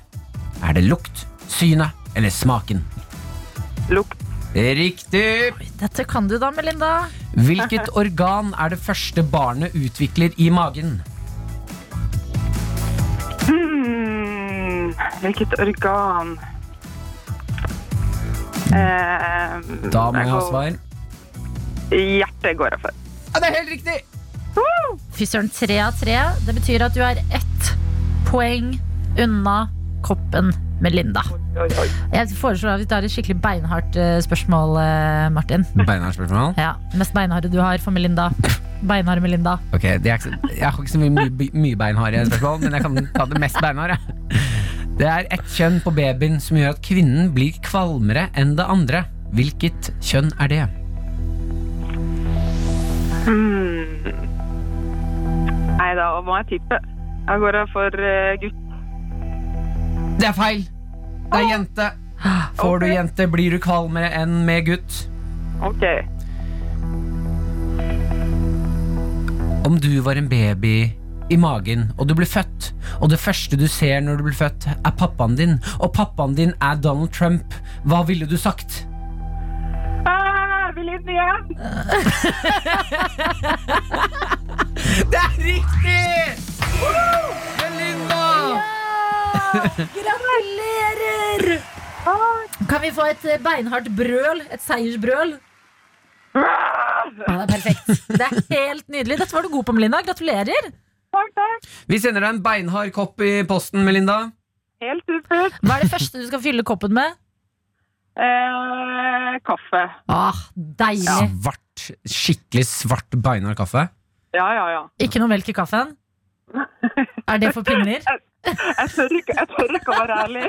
Er det lukt, synet eller smaken? Lukt. Riktig! Dette kan du da, Melinda. Hvilket organ er det første barnet utvikler i magen? Hmm, hvilket organ? Eh, Da må jeg ha går- svar. Hjertet går jeg for. Ja, det er helt riktig! Fy søren, tre av tre. Det betyr at du er ett poeng unna koppen Melinda. Oi, oi. Jeg foreslår at vi tar et skikkelig beinhardt eh, spørsmål, eh, Martin. Beinhardspørsmål? Ja, Mest beinharde du har for Melinda. Beinharde Melinda. Ok, det er ikke, så- Jeg har ikke så mye, mye, mye beinharde spørsmål, men jeg kan ta det mest beinharde. Det er ett kjønn på babyen som gjør at kvinnen blir kvalmere enn det andre. Hvilket kjønn er det? Hmm. Nei, da må jeg tippe. Da går jeg for eh, gutt. Det er feil. Det er jente. Får du Ok. jente, blir du kvalmere enn med gutt. Ok. Om du var en baby i magen, og du ble født, og det første du ser når du blir født, er pappaen din, og pappaen din er Donald Trump, hva ville du sagt? Ah, vil inn igjen! Det er riktig! Melinda! Gratulerer! Kan vi få et eh, beinhardt brøl? Et seiersbrøl? Ah, Ja, det er perfekt. Det er helt nydelig. Dette var du god på, Melinda. Gratulerer. takk, takk. Vi sender deg en beinhard kopp i posten, Melinda. Helt supert. Hva er det første du skal fylle koppen med? Eh, kaffe. Ah, deilig. Svart, skikkelig svart beinhard kaffe. Ja, ja, ja. Ikke noe melk i kaffen? Er det for pingler? Jeg tør ikke, jeg tør ikke å være ærlig.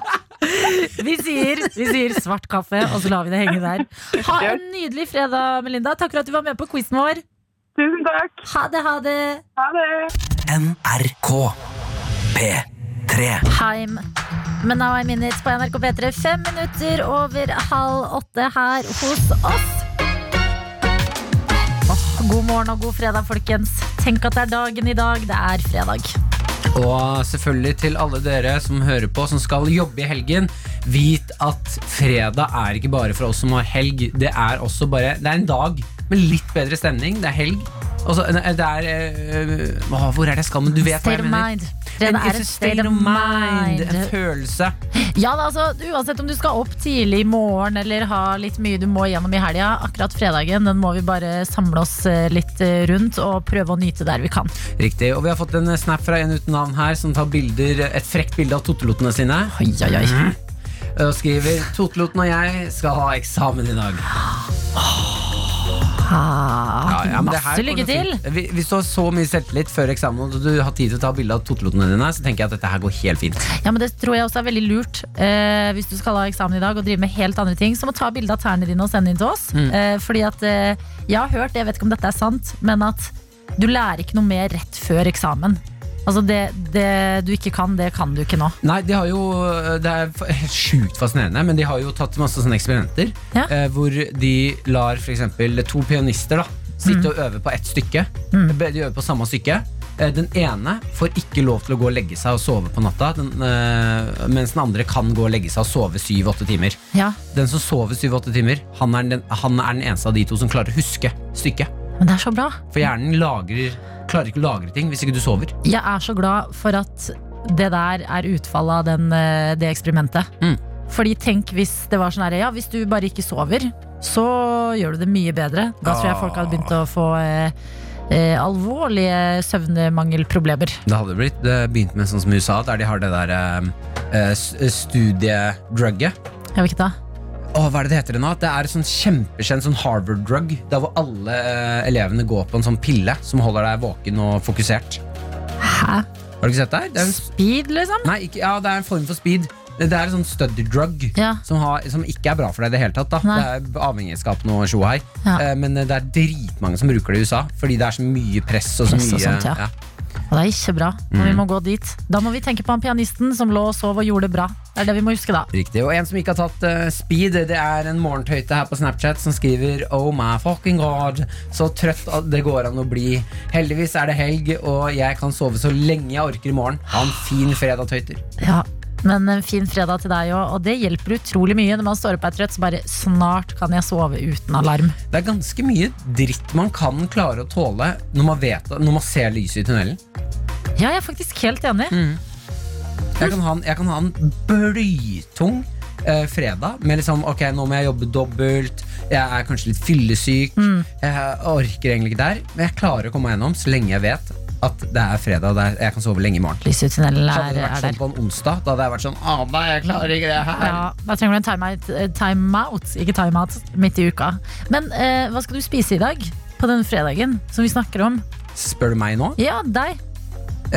Vi sier, vi sier svart kaffe, og så lar vi det henge der. Ha en nydelig fredag, Melinda. Takk for at du var med på quizen vår. Tusen takk. Ha det, ha det. Ha det. NRK P3 Heim. Men now I'm in it på NRK P3. Fem minutter over halv åtte her hos oss. Åh, god morgen og god fredag, folkens. Tenk at det er dagen i dag. Det er fredag. Og selvfølgelig til alle dere som hører på, som skal jobbe i helgen. Vit at fredag er ikke bare for oss som har helg. Det er også bare Det er en dag med litt bedre stemning. Det er helg. Altså, ne- det er eh, åh, Hvor er det jeg skal? Men du vet hva State of jeg mener. mind. Det It's er a et state of mind. En følelse. Ja, da, altså, Uansett om du skal opp tidlig i morgen eller ha litt mye du må gjennom i helga, akkurat fredagen den må vi bare samle oss eh, litt eh, rundt og prøve å nyte der vi kan. Riktig. Og vi har fått en snap fra en uten navn her som tar bilder, et frekt bilde av totelotene sine. Oi, oi, oi. Mm. Og skriver Toteloten og jeg skal ha eksamen i dag. Ah, Ja, ja, men det her masse går lykke jo til! fint. Vi, hvis du har så mye selvtillit før eksamen og du har tid til å ta bilde av totelotene dine, så tenker jeg at dette her går helt fint. Ja, men Det tror jeg også er veldig lurt. Eh, hvis du skal ha eksamen i dag og drive med helt andre ting, så må ta bilde av tærne dine og sende inn til oss. Mm. Eh, fordi at eh, Jeg har hørt, jeg vet ikke om dette er sant, men at du lærer ikke noe mer rett før eksamen. Altså Det, det du ikke kan, det kan du ikke nå. Nei, de har jo Det er f- helt sjukt fascinerende, men de har jo tatt masse sånne eksperimenter Ja. eh, hvor de lar f.eks. to pianister da Mm. sitte og øve på ett stykke. Be- De øver på samme stykke. Eh, Den ene får ikke lov til å gå og legge seg og sove på natta, den, eh, mens den andre kan gå og legge seg og sove syv-åtte timer. Ja, Den som sover syv-åtte timer, han er, den, han er den eneste av de to som klarer å huske stykket. Men det er så bra. For hjernen lagrer, klarer ikke å lagre ting hvis ikke du sover. Jeg er så glad for at det der er utfallet av den, eh, det eksperimentet. Mm. Fordi tenk hvis det var sånn her, ja, hvis du bare ikke sover, så gjør du det mye bedre. Da tror jeg folk hadde begynt å få eh, eh, alvorlige søvnmangelproblemer. Det hadde blitt Det begynte med sånn som i USA, der de har det der eh, s- studiedrugget. Jeg vet ikke da. Åh, hva er det det heter det nå? Det er sånn kjempekjent sånn Harvard-drug. Der hvor alle eh, elevene går på en sånn pille som holder deg våken og fokusert. Hæ? Har du ikke sett det? her? Det er en, s- Speed, liksom? nei, ikke, ja, det er en form for speed. Det det er en sånn study drug Ja. som, har, som ikke er bra for deg i det hele tatt. Da. Det Nei. er avhengighetsskapende og tjo og hei. Ja. Eh, Men eh, det er dritmange som bruker det i USA, fordi det er så mye press og så Press og mye sånt, ja. ja. Og det er ikke bra. Men vi må gå dit. Da må vi tenke på han pianisten som lå og sov og gjorde det bra. Det er det vi må huske da. Riktig, og En som ikke har tatt eh, speed, det er en morgentøyte her på Snapchat som skriver Oh my fucking god, så trøtt at det går an å bli. Heldigvis er det helg, og jeg kan sove så lenge jeg orker i morgen. Ha en fin fredag, tøyter. Ja, men en fin fredag til deg òg, og det hjelper utrolig mye når man står opp og er trøtt. Så bare snart kan jeg sove uten alarm. Det er ganske mye dritt man kan klare å tåle når man, vet, når man ser lyset i tunnelen. Ja, jeg er faktisk helt enig. Mm. Jeg kan ha en, jeg kan ha en blytung eh, fredag med liksom Ok, nå må jeg jobbe dobbelt. Jeg er kanskje litt fyllesyk. Mm. Jeg orker egentlig ikke der, men jeg klarer å komme meg gjennom så lenge jeg vet at det er fredag og det er- jeg kan sove lenge i morgen. Lyset i tunnelen Hadde er, det vært er sånn der. på en onsdag, da hadde jeg vært sånn «Å, nei, jeg klarer ikke det her. Ja, da trenger du en timeout, eh, timeout ikke timeout, midt i uka. Men eh, hva skal du spise i dag? På denne fredagen som vi snakker om. Spør du meg nå? Ja, deg.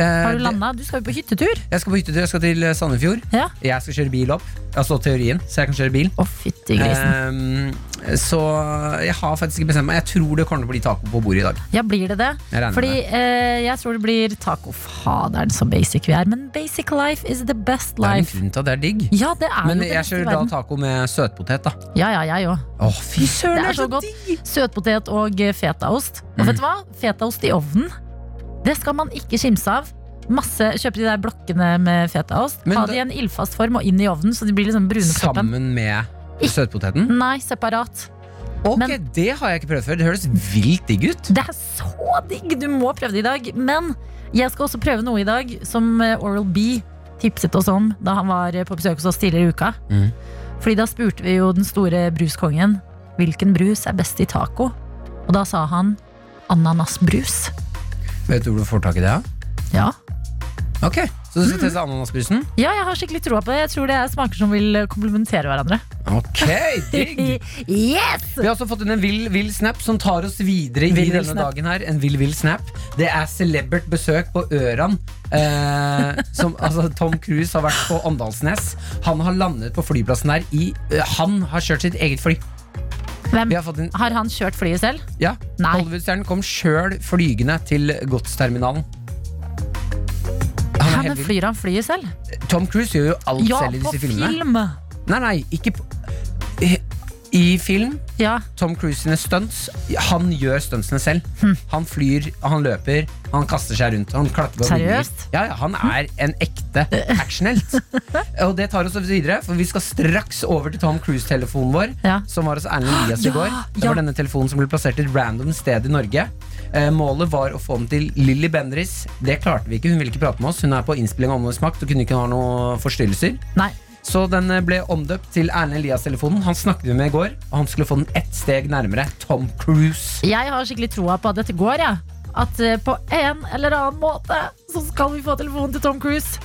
Eh, Har du det- landa? Du skal jo på hyttetur. Jeg skal på hyttetur, jeg skal til eh, Sandefjord. Ja. Jeg skal kjøre bil opp. Altså teorien, så jeg kan kjøre bil. Å, fytti grisen. Eh, så jeg har faktisk ikke bestemt meg. Jeg tror det kommer til å bli taco på bordet i dag. Ja, blir det det? Jeg regner Fordi med eh, jeg tror det blir taco. Faderen, så basic vi er. Men basic life is the best Det er en life. grunn til at det er digg. Ja, det er Men jo det jeg beste i kjører da verden. taco med søtpotet, da. Ja, ja, jeg òg. Å, fy søren, Det er så godt. Søtpotet og eh, fetaost. Og Mm. vet du hva? Fetaost i ovnen. Det skal man ikke kimse av. Masse, Kjøpe de der blokkene med fetaost. Men Ha da- det i en ildfast form og inn i ovnen, så de blir liksom brune på toppen. Sammen med søtpoteten? Nei, separat. Ok, Mm, Men- det har jeg ikke prøvd før. Det høres vilt digg ut. Det er så digg! Du må prøve det i dag. Men jeg skal også prøve noe i dag som eh, Oral B tipset oss om da han var eh, på besøk hos oss tidligere i uka. Mhm. Fordi da spurte vi jo den store bruskongen hvilken brus er best i taco. Og da sa han ananasbrus. Vet du hvor du får tak i det? da? Ja. Ok, Så du skal Mm. teste ananasbrusen? ja, jeg har skikkelig troa på det. Jeg tror det er smaker som vil eh, komplementere hverandre. Ok, digg! yes! Vi har også fått inn en vill, vill snap som tar oss videre i Vill, vill denne snap. dagen her. En vill, vill snap. Det er celebert besøk på Øran. Eh, som, altså, Tom Cruise har vært på Åndalsnes. Han har landet på flyplassen der i eh, Han har kjørt sitt eget fly. Hvem? Vi har fått inn Har han kjørt flyet selv? Ja, Nei. Hollywood-stjernen kom sjøl flygende til godsterminalen. Han Ja, er men helt vild. flyr han flyet selv? Tom Cruise gjør jo alt Ja, selv i på disse filmene. film! Nei, nei, ikke på he- I film Ja, Tom Cruise sine stunts Han gjør stuntsene selv. Hm. Han flyr, han løper, han kaster seg rundt. Han klatrer over bygninger. Seriøst? Ja, ja, han er en ekte actionhelt. og det tar oss videre, for vi skal straks over til Tom Cruise-telefonen vår. Ja. Som var hos Erlend Elias Ja, i går. Det ja. var denne telefonen som ble plassert et random sted i Norge. Eh, målet var å få den til Lilly Bendriss. Det klarte vi ikke. Hun ville ikke prate med oss. Hun er på innspilling av Åndenes makt og kunne ikke ha noen forstyrrelser. nei Så den eh, ble omdøpt til Erlend Elias-telefonen. Han snakket vi med i går, og han skulle få den ett steg nærmere Tom Cruise. Jeg har skikkelig troa på at dette går, jeg. At eh, på en eller annen måte så skal vi få telefonen til Tom Cruise.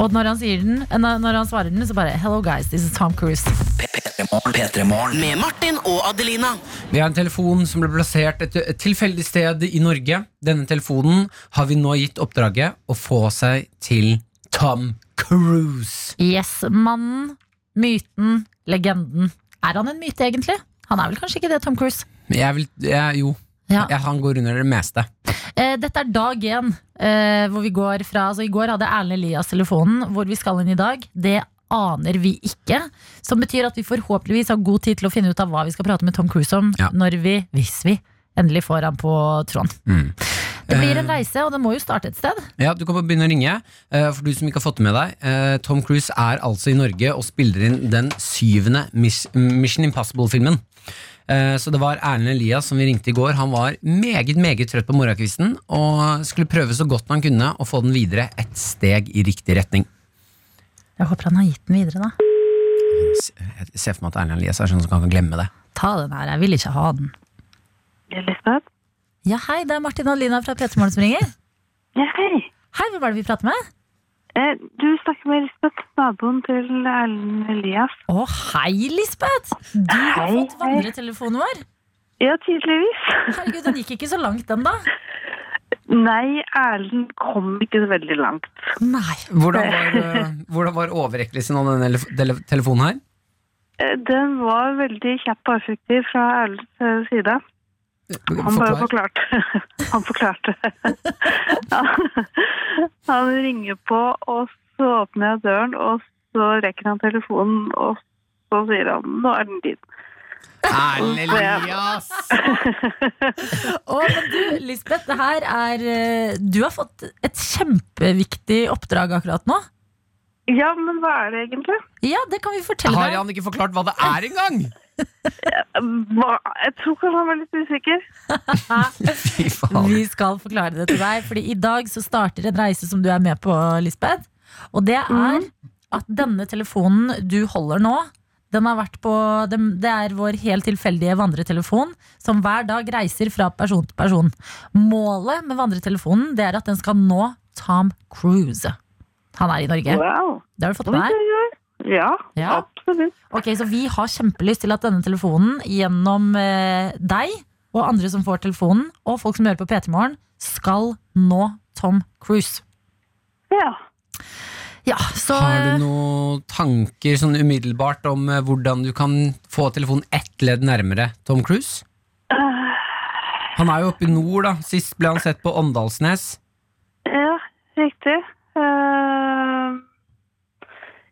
Og når han, sier den, eh, når når han svarer den, så bare Hello guys, this is Tom Cruise. P3morgen. Med Martin og Adelina. Vi har en telefon som ble plassert et et tilfeldig sted i Norge. Denne telefonen har vi nå gitt oppdraget å få seg til Tom Cruise. Yes, mannen, myten, legenden. Er han en myte, egentlig? Han er vel kanskje ikke det, Tom Cruise? Jeg vil, jeg, jo, Ja. jeg, han går under det meste. Eh, dette er dag én, eh, hvor vi går fra Altså, i går hadde Erlend Elias telefonen. Hvor vi skal inn i dag, det aner vi ikke. Som betyr at vi forhåpentligvis har god tid til å finne ut av hva vi skal prate med Tom Cruise om Ja. når vi, hvis vi, endelig får han på tråden. Det blir en reise, og det må jo starte et sted. Ja, Du kan bare begynne å ringe. eh, For du som ikke har fått det med deg eh, Tom Cruise er altså i Norge og spiller inn den syvende Mis Mission Impossible-filmen. Eh, Så det var Erlend Elias som vi ringte i går. Han var meget meget trøtt på morgenkvisten og skulle prøve så godt han kunne å få den videre et steg i riktig retning. Jeg håper han har gitt den videre, da. S- Jeg ser for meg at Erlend Elias er sånn som kan glemme det. Ta den her, jeg vil ikke ha den. Elisabeth? Ja, hei, det er Martin og Lina fra P3 Morgen som ringer. Ja, hei. Hei, hvem er det vi prater med? Eh, du snakker med Elisabeth, naboen til Erlend Elias. Å, hei, Lisbeth! Du har Hei, fått hei. vandretelefonen vår. Ja, tydeligvis. Herregud, den gikk ikke så langt, den, da. Nei, Erlend kom ikke så veldig langt. Nei. Hvordan var, eh, hvordan var overrekkelsen av denne elef- tele- telefonen her? Eh, Den var veldig kjapp og effektiv fra Erlends eh, side. Han bare Forklar. forklarte. Han forklarte. Ja. han ringer på, og så åpner jeg døren, og så rekker han telefonen, og så sier han 'nå er den din'. Erlend Elias! Å, men du, Lisbeth, det her er eh, Du har fått et kjempeviktig oppdrag akkurat nå. Ja, men hva er det egentlig? Ja, det kan vi fortelle Har deg. han ikke forklart hva det er engang? Hva? Jeg tror kanskje han var litt usikker. Fy faen. Vi skal forklare det til deg, Fordi i dag så starter en reise som du er med på, Lisbeth. Og det er at denne telefonen du holder nå, den har vært på den- Det er vår helt tilfeldige vandretelefon som hver dag reiser fra person til person. Målet med vandretelefonen det er at den skal nå Tom Cruise. Han er i Norge. Wow. Det har du fått Oi, med deg? oi, oi. Ja, Ja. absolutt. Ok, Så vi har kjempelyst til at denne telefonen gjennom eh, deg og andre som får telefonen, og folk som hører på PT Morgen, skal nå Tom Cruise. Ja. Ja, så Har du eh, noen tanker sånn umiddelbart om eh, hvordan du kan få telefonen ett ledd nærmere Tom Cruise? Ah. Han er jo oppe i nord, da. Sist ble han sett på Åndalsnes. Ja, riktig. Eh,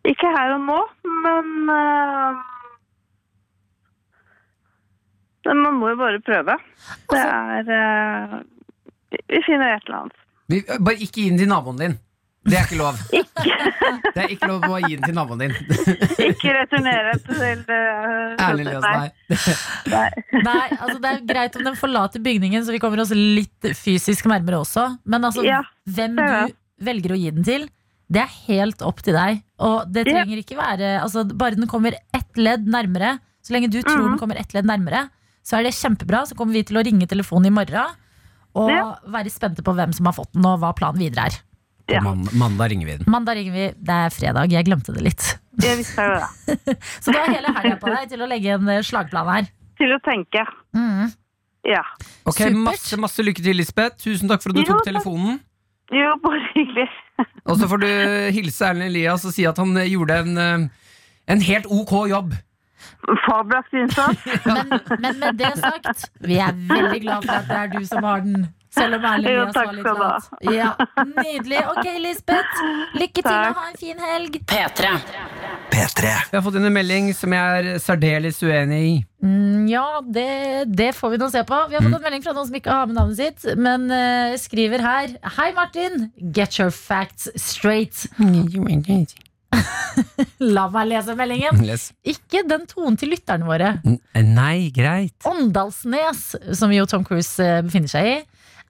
ikke her og nå, men eh, men Man må jo bare prøve. Det er eh, vi- Vi finner et eller annet. Vi, eh, bare ikke gi den til naboen din. Det er ikke lov. Det er ikke lov å bare gi den til naboen din. Ikke returnere til eh, Erlend Elias, nei. nei. Nei, altså Det er greit om den forlater bygningen, så vi kommer oss litt fysisk nærmere også. Men altså, Ja, hvem det er du velger å gi den til, det er helt opp til deg. Og det Ja. trenger ikke være altså, Bare den kommer ett ledd nærmere, så lenge du Mhm. tror den kommer ett ledd nærmere, så er det kjempebra. Så kommer vi til å ringe telefonen i morgen og Ja. være spente på hvem som har fått den, og hva planen videre er. Ja. På man- mandag ringer vi den. Mandag ringer vi. Det er fredag. Jeg glemte det litt. Jeg visste jo det. Så du har hele helga på deg til å legge en eh, slagplan her. Til å tenke. Ja. Ok, Supert. Masse masse lykke til, Lisbeth. Tusen takk for at du Jo, tok takk. telefonen. Jo, bare hyggelig. Og så får du hilse Erlend Elias og si at han eh, gjorde en, eh, en helt ok jobb. Fabelaktig innsats. Men, men med det sagt, vi er veldig glad for at det er du som har den. Selv om Erlend Jo, Elias takk var litt skal du ha. lat. Ja, nydelig. Ok, Lisbeth. Lykke til Takk. og ha en fin helg. P3. P3. Vi har fått inn en melding som jeg er særdeles uenig i. Mm, Ja, det, det får vi nå se på. Vi har fått en melding fra noen som ikke har med navnet sitt, men eh, skriver her Hei, Martin. Get your facts straight. La meg lese meldingen. Mm, Les. Ikke den tonen til lytterne våre. N- eh, Nei, greit. Åndalsnes, som jo Tom Cruise eh, befinner seg i,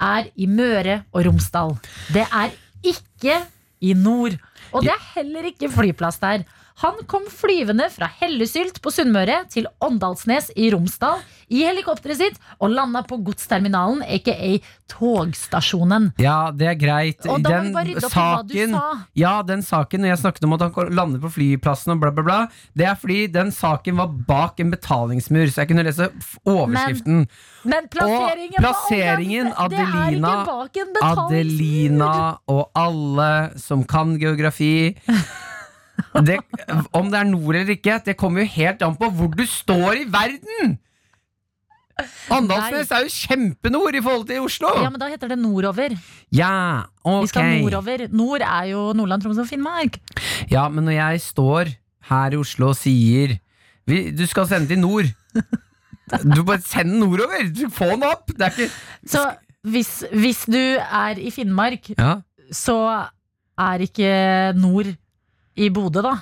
er i Møre og Romsdal. Det er ikke i nord. Og det er heller ikke flyplass der. Han kom flyvende fra Hellesylt på Sunnmøre til Åndalsnes i Romsdal i helikopteret sitt og landa på godsterminalen, aka togstasjonen. Ja, det er greit. Og da må vi bare rydde opp i hva du sa. Ja, den saken når jeg snakket om at han ko- lander på flyplassen og bla, bla, bla, det er fordi den saken var bak en betalingsmur, så jeg kunne lese f- overskriften. Men plasseringen, Og plasseringen, på Åndalsnes, Adelina, Det er ikke bak en betalingsmur. Adelina og alle som kan geografi. Det, om det er nord eller ikke, det kommer jo helt an på hvor du står i verden! Åndalsnes er jo kjempenord i forhold til Oslo! Ja, men da heter det nordover. Ja, Vi skal ok. nordover. Nord er jo Nordland, Troms og Finnmark. Ja, men når jeg står her i Oslo og sier vi, Du skal sende til nord. Du bare Send den nordover! Du, Få den opp! Det er ikke Så hvis, hvis du er i Finnmark, ja. så er ikke nord i Bodø, da.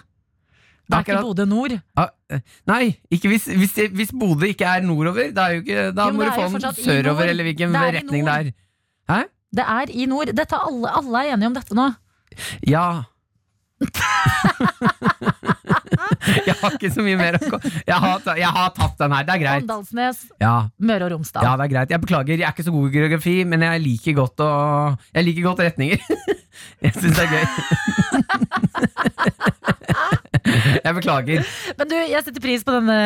Da er ikke Akkurat. Bodø nord. ah, eh, Nei, ikke hvis, hvis, det- hvis Bodø ikke er nordover, da, er jo ikke, da Jo, men må det du er få jo den fortsatt i sørover, nord. eller hvilken Det er i retning det nord. er. Det er i nord. Dette er alle, alle er enige om dette nå. Ja. jeg har ikke så mye mer å ko- jeg har, ta- jeg har tatt den her. Det er greit. Åndalsnes, Ja, Møre og Romsdal. Ja, det er greit. Jeg beklager, jeg er ikke så god i geografi, men jeg liker godt, å, jeg liker godt retninger. Jeg syns det er gøy. Jeg beklager. Men du, jeg setter pris på denne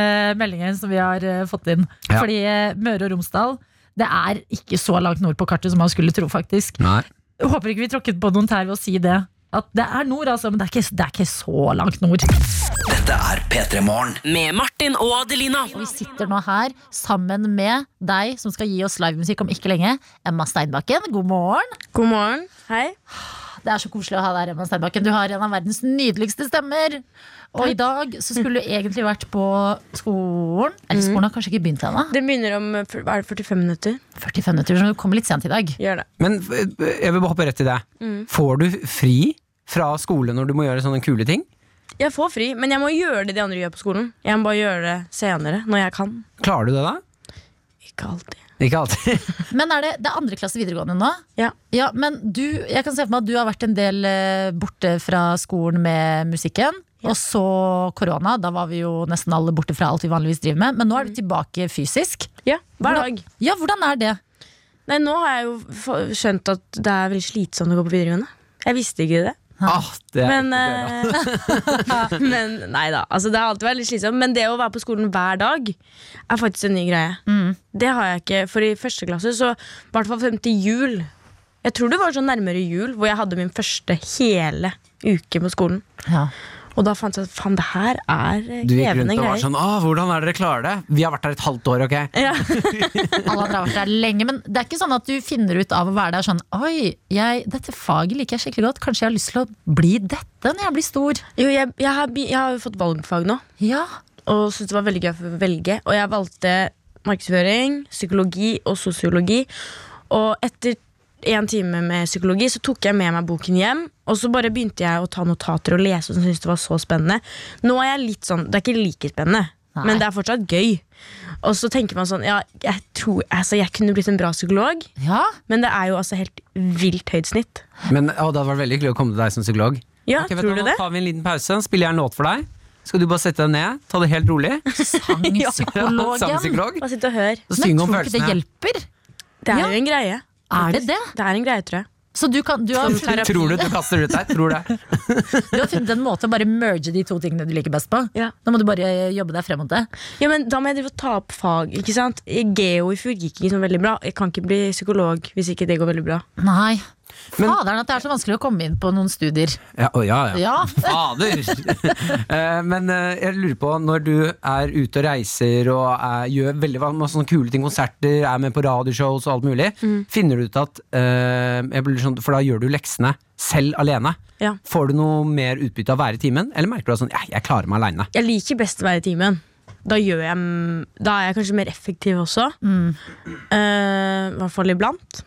meldingen som vi har eh, fått inn. Ja. Fordi eh, Møre og Romsdal det er ikke så langt nord på kartet som man skulle tro, faktisk. Nei. Jeg håper ikke vi tråkket på noen tær ved å si det. At det er nord, altså, men det er ikke, det er ikke så langt nord. Dette er P3 Morgen. Med Martin og Adelina. Og vi sitter nå her sammen med deg som skal gi oss livemusikk om ikke lenge. Emma Steinbakken, god morgen. God morgen. Hei. Det er så koselig å ha deg her, Emma Steinbakken. Du har en av verdens nydeligste stemmer. Og i dag så skulle du egentlig vært på skolen. Eller skolen har kanskje ikke begynt ennå. Det begynner om eh, fyr- hva er det, 45 minutter. 45 minutter, så du kommer litt sent i dag. Gjør det. Men f- jeg vil bare hoppe rett til deg. Mm. Får du fri fra skole når du må gjøre sånne kule ting? Jeg får fri, men jeg må gjøre det de andre gjør på skolen. Jeg må bare gjøre det senere, når jeg kan. Klarer du det, da? Ikke alltid. Ikke alltid. Men er det, det er andre klasse videregående nå? Ja. Ja, men du, jeg kan se for meg at du har vært en del eh, borte fra skolen med musikken. Og så korona. Da var vi jo nesten alle borte fra alt vi vanligvis driver med. Men nå er du tilbake fysisk. Ja, hver Hvordan- dag. Ja, hvordan er det? Nei, nå har jeg jo f- skjønt at det er veldig slitsomt å gå på videregående. Jeg visste ikke det. Ah, det er Men, ikke bra. eh, men nei da. Altså, det har alltid vært litt slitsomt. Men det å være på skolen hver dag er faktisk en ny greie. Det har jeg ikke. For i første klasse, så i hvert fall frem til jul Jeg tror det var sånn nærmere jul hvor jeg hadde min første hele uke på skolen. Ja. Og da fant jeg ut faen, det her er eh, Du gikk krevende rundt og var greier. sånn ah, 'Hvordan er det dere klarer det?' Vi har vært her et halvt år, ok? ja. Alle andre har vært der lenge, men det er ikke sånn at du finner ut av å være der sånn Oi, jeg, dette faget liker jeg skikkelig godt. Kanskje jeg har lyst til å bli dette når jeg blir stor. Jo, jeg, jeg, har, be- jeg har jo fått valgfag nå, Ja. og syntes det var veldig gøy å få velge. Og jeg valgte markedsføring, psykologi og sosiologi. Og etter en time med psykologi så tok jeg med meg boken hjem. Og så bare begynte jeg å ta notater og lese, og syntes det var så spennende. Nå er jeg litt sånn, Det er ikke like spennende, Nei. men det er fortsatt gøy. Og så tenker man sånn Ja, jeg tror altså, jeg kunne blitt en bra psykolog, ja. men det er jo altså helt vilt høyt snitt. Men å, det hadde vært veldig hyggelig å komme til deg som psykolog. Ja, Ok, vet tror hva, du Nå det? tar vi en liten pause, spiller jeg en låt for deg. Skal du bare sette deg ned, ta det helt rolig. Samme Sangpsykologen. psykolog. Bare sitte og hør. Så Men synge tror du om ikke det følelsene. hjelper? Det er Ja. jo en greie. Er det det? Det er en greie, tror jeg. Så du, kan, du, har, funnet- Tror du du kaster ut deg? Tror det. du har funnet en måte å bare merge de to tingene du liker best på? Ja. Nå må du bare jobbe deg frem mot det. Ja, men Da må jeg drive og ta opp fag. ikke sant? Geo i fjor gikk ikke så veldig bra. Jeg kan ikke bli psykolog hvis ikke det går veldig bra. Nei. Men- Faderen, at det er så vanskelig å komme inn på noen studier. Ja, å, ja, ja. Ja, Fader! Eh, Men eh, jeg lurer på, når du er ute og reiser og er, gjør veldig van- masse sånne kule ting, konserter, er med på radioshows og alt mulig, Mm. finner du ut at eh, jeg blir sånn, For da gjør du leksene selv alene. Ja. Får du noe mer utbytte av å være i timen, eller merker du at sånn, ja, jeg klarer meg aleine? Jeg liker best å være i timen. Da, gjør jeg, mm, da er jeg kanskje mer effektiv også. Eh, I hvert fall iblant.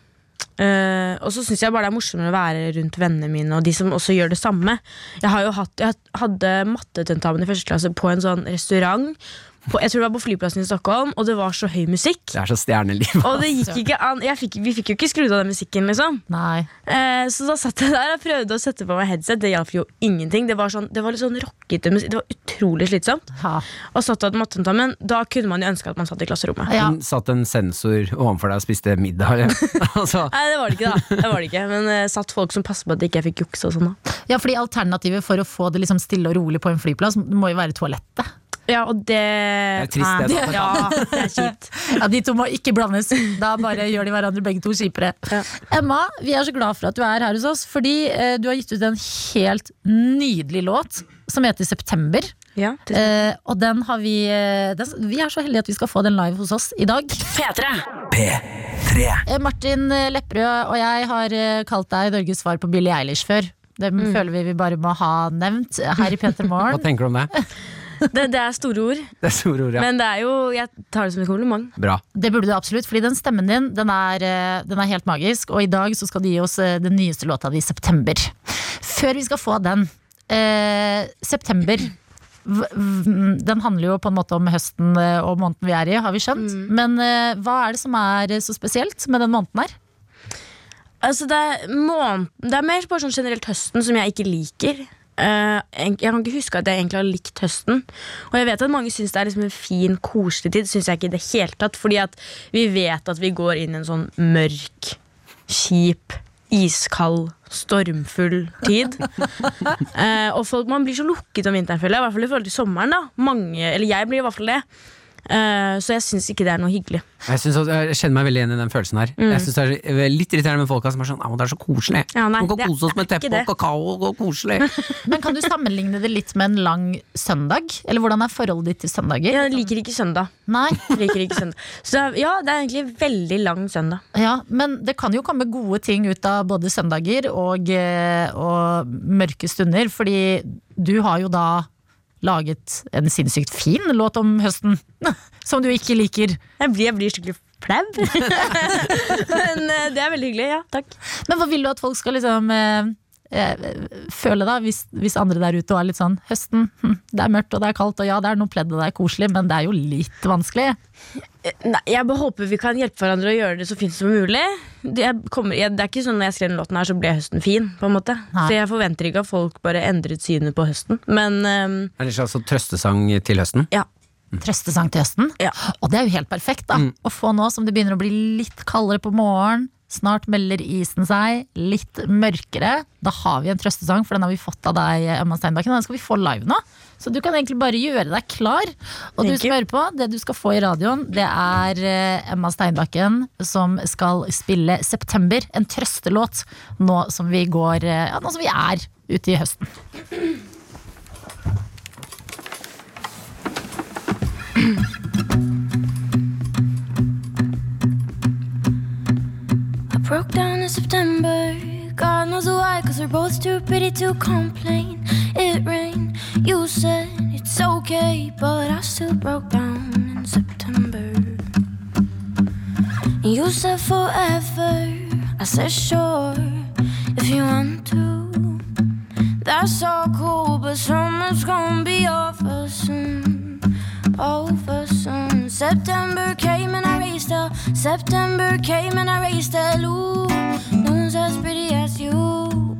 Eh, og så syns jeg bare det er morsommere å være rundt vennene mine og de som også gjør det samme. Jeg, har jo hatt, jeg hadde mattetentamen i første klasse på en sånn restaurant. På, jeg tror det var på flyplassen i Stockholm, og det var så høy musikk. Det er så stjerneliv. Og det gikk ikke an jeg fikk, Vi fikk jo ikke skrudd av den musikken, liksom. nei. Eh, så da satt jeg der og prøvde å sette på meg headset. Det hjalp jo ingenting. Det var, sånn, det var litt sånn rockete musikk. Det var utrolig slitsomt Ha. og satt av mattentamen, da kunne man jo ønske at man satt i klasserommet. Ja. Den Satt en sensor overfor deg og spiste middag. eller? altså, Nei, det var det ikke, da. Det var det ikke. Men eh, satt folk som passet på at ikke jeg fikk jukse og sånn. da. ja, fordi alternativet for å få det liksom stille og rolig på en flyplass, må jo være toalettet. Ja, og det Det er trist, det, Nei, da. Ja, det er kjipt. Ja, De to må ikke blandes. Da bare gjør de hverandre begge to kjipere. Emma, vi er så glad for at du er her hos oss, fordi eh, du har gitt ut en helt nydelig låt som heter September. Ja, tusen- Eh, og den har vi eh, den, Vi er så heldige at vi skal få den live hos oss i dag. P3. P3 Eh, Martin eh, Lepperød og jeg har eh, kalt deg Norges svar på Billie Eilish før. Det føler vi vi bare må ha nevnt her i P3 hva Morgen. tenker du om det? det, det er store ord, Det er store ord, ja. men det er jo Jeg tar det som et kompliment. Bra. Det burde du absolutt, fordi den stemmen din den er, eh, den er helt magisk. Og i dag så skal de gi oss eh, den nyeste låta di, 'September'. Før vi skal få den eh, 'September' v- v- den handler jo på en måte om høsten eh, og måneden vi er i, har vi skjønt. Men eh, hva er det som er eh, så spesielt med den måneden her? Altså, det er, måneden, det er mer bare sånn generelt høsten som jeg ikke liker. Eh, jeg jeg kan ikke huske at jeg egentlig har likt høsten. Og jeg vet at mange syns det er liksom en fin, koselig tid. Syns jeg ikke i det hele tatt. Fordi at vi vet at vi går inn i en sånn mørk, kjip, iskald, stormfull tid. Eh, og folk, man blir så lukket om vinteren, føler jeg. I hvert fall i forhold til sommeren. da Mange, Eller jeg blir i hvert fall det. Eh, så jeg syns ikke det er noe hyggelig. Jeg, synes også, jeg kjenner meg veldig igjen i den følelsen her. Jeg synes det er eh, litt irriterende med folka som er sånn «Ah, men 'det er så koselig'. Mm. Ja, nei, Man det kan kose oss er med ikke teppe det. og kakao og koselig. Men kan du sammenligne det litt med en lang søndag? Eller hvordan er forholdet ditt til søndager? Jeg liker ikke søndag. Nei, Liker ikke søndag. Så ja, det er egentlig veldig lang søndag. ja, Men det kan jo komme gode ting ut av både søndager og, eh, og mørke stunder. Fordi du har jo da laget en sinnssykt fin låt om høsten, som du ikke liker. Jeg blir, jeg blir skikkelig flau. Men eh, det er veldig hyggelig. Ja, takk. Men hva vil du at folk skal liksom eh, eh, føle da, hvis, hvis andre der ute er litt sånn Høsten, hm, det er mørkt og det er kaldt, og ja, det er noe pledd og det er koselig, men det er jo litt vanskelig. Eh, Nei, jeg bare håper vi kan hjelpe hverandre å gjøre det så fint som mulig. Det, jeg kommer, jeg, det er ikke sånn Når jeg skrev den låten, her så ble høsten fin. på en måte Nei. Så jeg forventer ikke at folk bare endret synet på høsten. Men eh, Er det en slags sånn trøstesang til høsten? ja. trøstesang til høsten. Ja. Mm. Og det er jo helt perfekt da å få nå som det begynner å bli litt kaldere på morgenen. Snart melder isen seg, litt mørkere. Da har vi en trøstesang, for den har vi fått av deg, Emma Steinbakken. og Den skal vi få live nå. Så du kan egentlig bare gjøre deg klar. Og du Thank som you. hører på, det du skal få i radioen, det er eh, Emma Steinbakken som skal spille 'September', en trøstelåt, nå som vi går eh, Ja, nå som vi er ute i høsten. I broke down in September. God knows why, cause we're both too pretty to complain. It rained, you said it's okay, but I still broke down in September. You said forever, I said sure, if you want to. That's all cool, but summer's gonna be over soon. Over soon. September came and I raced her. September came and I raced her. Ooh, no one's as pretty as you,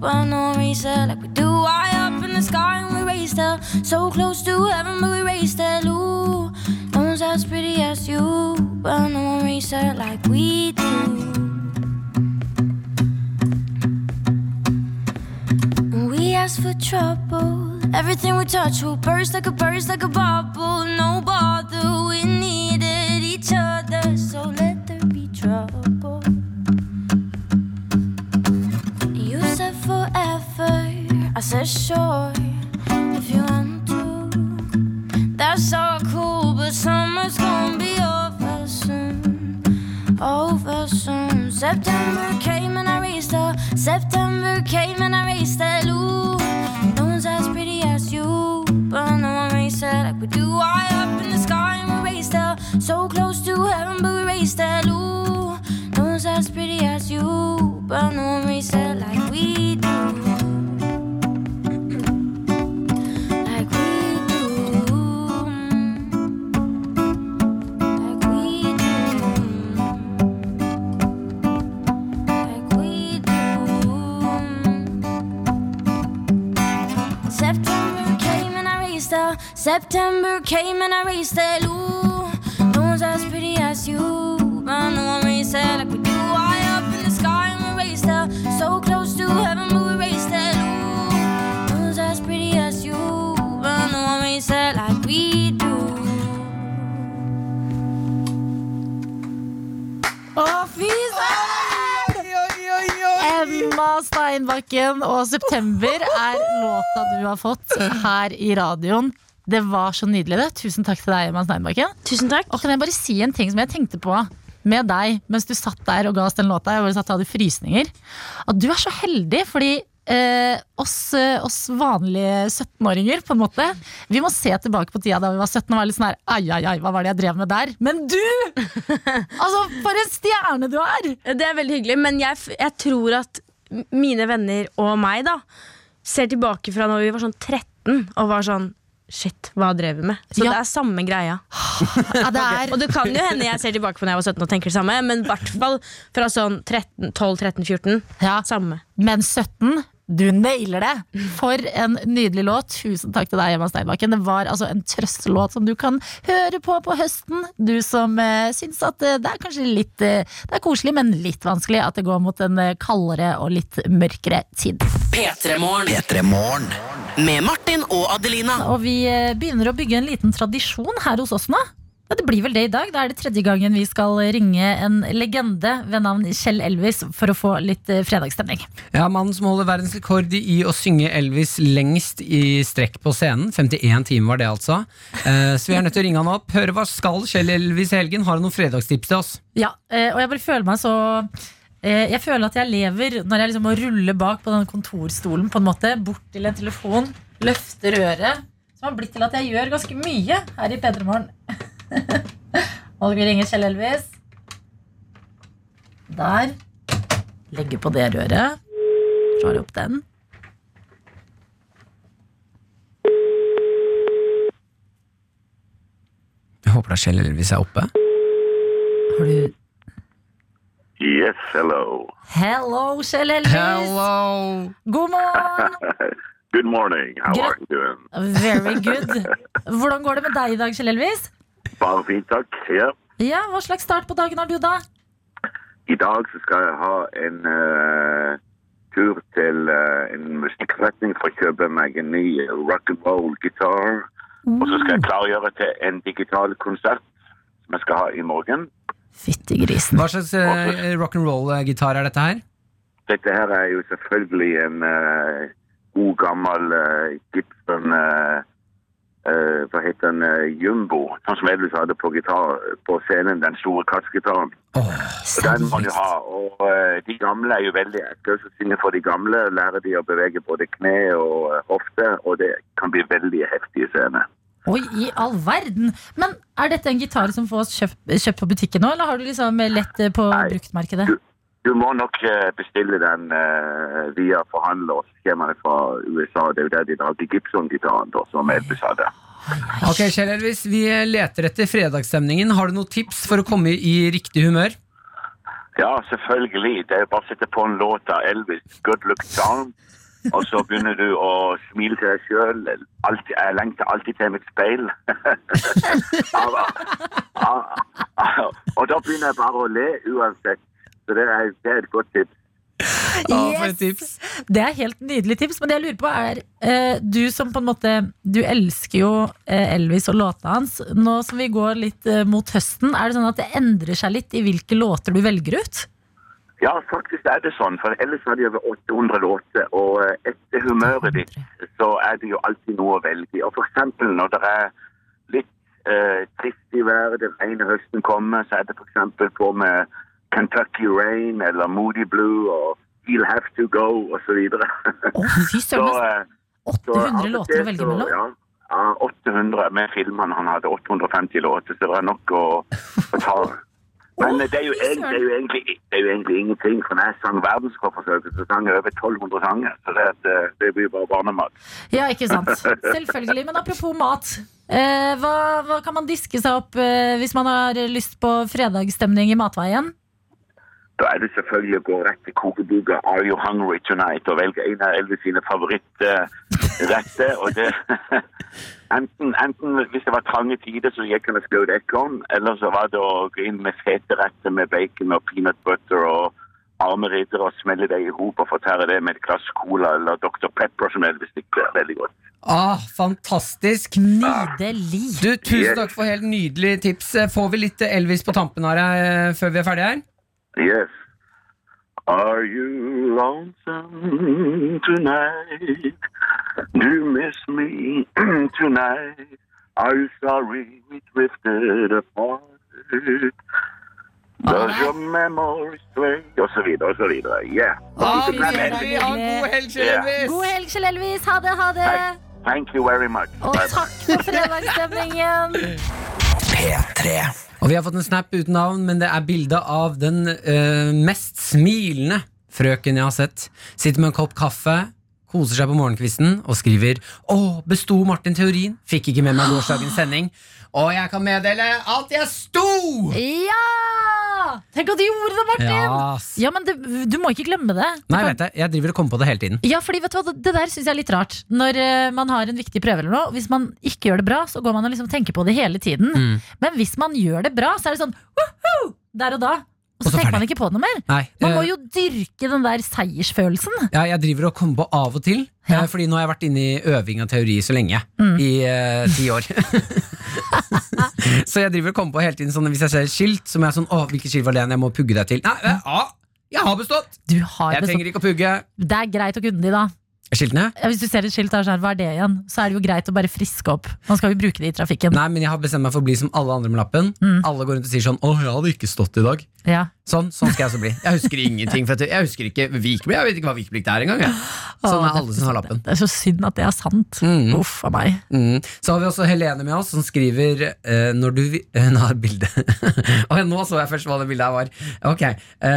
but no one raised her like we do. High up in the sky and we raised her. So close to heaven, but we raised her. Ooh, no one's as pretty as you, but no one raised her like we do. When we ask for trouble, everything we touch will burst like a burst, like a bubble. No bother, we needed each other, so let there be trouble. September came and I raced her. September came and I raced that Ooh, no one's as pretty as you, but no one raced her like we do. High up in the sky and we raced her. So close to heaven, but we raced that Ooh, no one's as pretty as you, but no one raced her like we do. Like we do. Like we do. Like we do. September came and I raced out. September came and I raced that Ooh, no one's as pretty as you. But no one raced that like we do. High up in the sky and we raced out. So close to heaven, but we raced that Ooh. No one's as pretty as you, but no one makes it like we do. Å, fy søren! Emma Steinbakken og 'September' er låta du har fått her i radioen. Det var så nydelig, det. Tusen takk til deg, Emma Steinbakken. Tusen takk. Og kan jeg bare si en ting som jeg tenkte på med deg mens du satt der og ga oss den låta? Jeg bare satt og hadde frysninger. At du er så heldig, fordi eh, oss, eh, oss vanlige 17-åringer, på en måte Vi må se tilbake på tida da vi var 17 og være litt sånn her Ai, ai, ai, hva var det jeg drev med der? Men du! Altså, for en stjerne du er! Eh, Det er veldig hyggelig, men jeg, f- jeg tror at m- mine venner og meg da ser tilbake fra når vi var sånn 13 og var sånn Shit, hva drev vi med? Så Ja. det er samme greia. Ja, det er Og det kan jo hende jeg ser tilbake på når jeg var 17 og tenker det samme, men i hvert fall fra sånn 13, 12, 13, 14. Ja. Samme. Men 17, du nailer det! For en nydelig låt. Tusen takk til deg, Emma Steinbakken. Det var altså en trøstelåt som du kan høre på på høsten. Du som eh, syns at eh, det er kanskje litt eh, Det er koselig, men litt vanskelig at det går mot en eh, kaldere og litt mørkere tid. P3morgen. P3morgen. Med Martin og Adelina. Og vi eh, begynner å bygge en liten tradisjon her hos oss nå. Ja, Det blir vel det i dag. Da er det tredje gangen vi skal ringe en legende ved navn Kjell Elvis for å få litt eh, fredagsstemning. Ja, Mannen som holder verdensrekord i å synge Elvis lengst i strekk på scenen. 51 timer var det, altså. Eh, Så vi er nødt til å ringe han opp. Hør hva skal Kjell Elvis i helgen? Har han noen fredagstips til oss? Ja, eh, og jeg bare føler meg så eh, Jeg føler at jeg lever når jeg liksom må rulle bak på den kontorstolen, på en måte, bort til en telefon, løfte røret. Som har blitt til at jeg gjør ganske mye her i P3 Morgen. og vi ringer Kjell Elvis. Der. Legge på det røret. Drar opp den. Jeg håper da Kjell Elvis er oppe. Har du Yes, hello. Hello, Kjell Elvis! God morgen! Good morning. How Gra- are you doing? Very good. Hvordan går det med deg i dag, Kjell Elvis? Bare fint, takk. Ja. Ja, Hva slags start på dagen har du, da? I dag så skal jeg ha en eh, tur til eh, en musikkforretning for å kjøpe meg en ny eh, rock'n'roll-gitar. Og så skal jeg klargjøre til en digital konsert som jeg skal ha i morgen. Fytti grisen. Hva slags eh, rock'n'roll-gitar er dette her? Dette her er jo selvfølgelig en eh, god gammel eh, Gibson eh, eh, Hva heter den? eh, Jumbo. Sånn som Elvis hadde på, gitar, på scenen, den store kassgitaren. Så den må du ha. Og eh, de gamle er jo veldig ekle. Så siden for de gamle lærer de å bevege både kne og eh, hofte, og det kan bli veldig heftige scener. Oi, i all verden! Men er dette en gitar som fås kjøpt, kjøpt på butikken nå, eller har du liksom lett eh, på Nei. bruktmarkedet? Du, du må nok eh, bestille den eh, via forhandlerskjemaene fra USA. Det er jo der de drar til Gibson-gitaren, da, som Elvis hadde. Ok, Kjell Elvis, Vi leter etter fredagsstemningen. Har du noen tips for å komme i riktig humør? Ja, selvfølgelig. Det er bare å sette på en låt av Elvis, 'Good Look Down', og så begynner du å smile til deg sjøl. Jeg lengter alltid til mitt speil. Ja, ja, ja. og da begynner jeg bare å le uansett. Så det er, det er et godt tips. Ja, for et tips. Det er helt nydelig tips, men det jeg lurer på er eh, Du som på en måte Du elsker jo eh, Elvis og låtene hans. Nå som vi går litt eh, mot høsten, er det sånn at det endrer seg litt i hvilke låter du velger ut? Ja, faktisk er det sånn, for ellers har de over 800 låter, og eh, etter humøret ditt så er det jo alltid noe å velge i. Og for eksempel når det er litt eh, trist i været, den ene høsten kommer, så er det for eksempel på med Kentucky Rain eller Moody Blue og He'll Have To Go osv. Fy søren, 800 Så av og låter til å velge så- mellom. Ja, ja, 800 med filmene. Han hadde 850 låter, så det er nok å, å ta. Men eh, det er, jo egentlig, det, er jo egentlig, det er jo egentlig ingenting, for når jeg sang verdenscupforsøket, så sang jeg over 1200 sanger. Så det, at, eh, det blir bare barnemat. Ja, ikke sant. Selvfølgelig. Men apropos mat. Eh, hva, hva kan man diske seg opp eh, hvis man har lyst på fredagsstemning i matveien? Da er det selvfølgelig å gå rett til kokeboka Are You Hungry Tonight og velge en av Elvis sine favorittretter. og det enten, enten hvis det var trange tider, så gikk han og skjøt ekorn, eller så var det å gå inn med fete retter med bacon og peanut butter og arme riddere og smelle det i hop og fortære det med et glass cola eller Dr. Pepper, som Elvis liker veldig godt. Ah, fantastisk! Nydelig! Du, Tusen Yes. takk for helt nydelige tips. Får vi litt Elvis på tampen her eh, før vi er ferdige her? Yes. Are you lonesome tonight? Do you miss me tonight? Are you sorry we drifted apart? Does your memory Oh, stray? Og så videre, og så videre. Yeah. Ah, Ikke glem nydelig. Elvis. nydelig. Ha en god helg, Ja. Elvis! God helg, Kjell Elvis. Ha det, ha det. Thank you very much. Og takk for fredagsstemningen. P3. Og vi har fått en snap uten navn, men det er bilde av den eh, mest smilende frøken jeg har sett. Sitter med en kopp kaffe, koser seg på morgenkvisten og skriver Å, besto Martin teorien? Fikk ikke med meg gårsdagens sending. Og jeg kan meddele at jeg sto! Ja! Tenk at du gjorde det, Martin! Ja, ass. Ja, men det, du må ikke glemme det. Du Nei, kan- vet jeg, jeg driver og kommer på det hele tiden. Ja, fordi vet du hva, det- Det der syns jeg er litt rart. Når eh, man har en viktig prøve eller noe, hvis man ikke gjør det bra, så går man og liksom tenker på det hele tiden. Mm. Men hvis man gjør det bra, så er det sånn «Woho!» der og da. Og så Og så tenker man ferdig. ikke på det noe mer. Nei, Man må eh, jo dyrke den der seiersfølelsen. ja, jeg driver og kommer på av og til, eh, Ja. Mm. Fordi nå har jeg vært inne i øving av teori så lenge. I eh, ti år. så jeg driver og kommer på hele tiden sånn hvis jeg ser et skilt, så må jeg sånn Å, hvilket skilt var det igjen? Jeg må pugge deg til. Nei, nei, ja, jeg har bestått! Du har Jeg det, så, trenger ikke å pugge. det er greit å kunne de, da. Skiltene? Ja, Hvis du ser et skilt der, så er det hva er det igjen? Så er det jo greit å bare friske opp. Man skal jo bruke det i trafikken. Nei, men jeg har bestemt meg for å bli som alle andre med lappen. Mm. Alle går rundt og sier sånn Å, jeg hadde ikke stått i dag. Ja. Sånn, sånn skal jeg også bli. Jeg husker ingenting. For jeg, jeg husker ikke Vikeplikt. Jeg vet ikke hva vikeplikt er engang. jeg. Sånn Å, er alle som har lappen. Det er så synd at det er sant. Mm. Uff a meg. Mm. Så har vi også Helene med oss, som skriver eh, Når du vi- Hun har bilde Å, ja, Nå så jeg først hva det bildet her var. Ok, eh,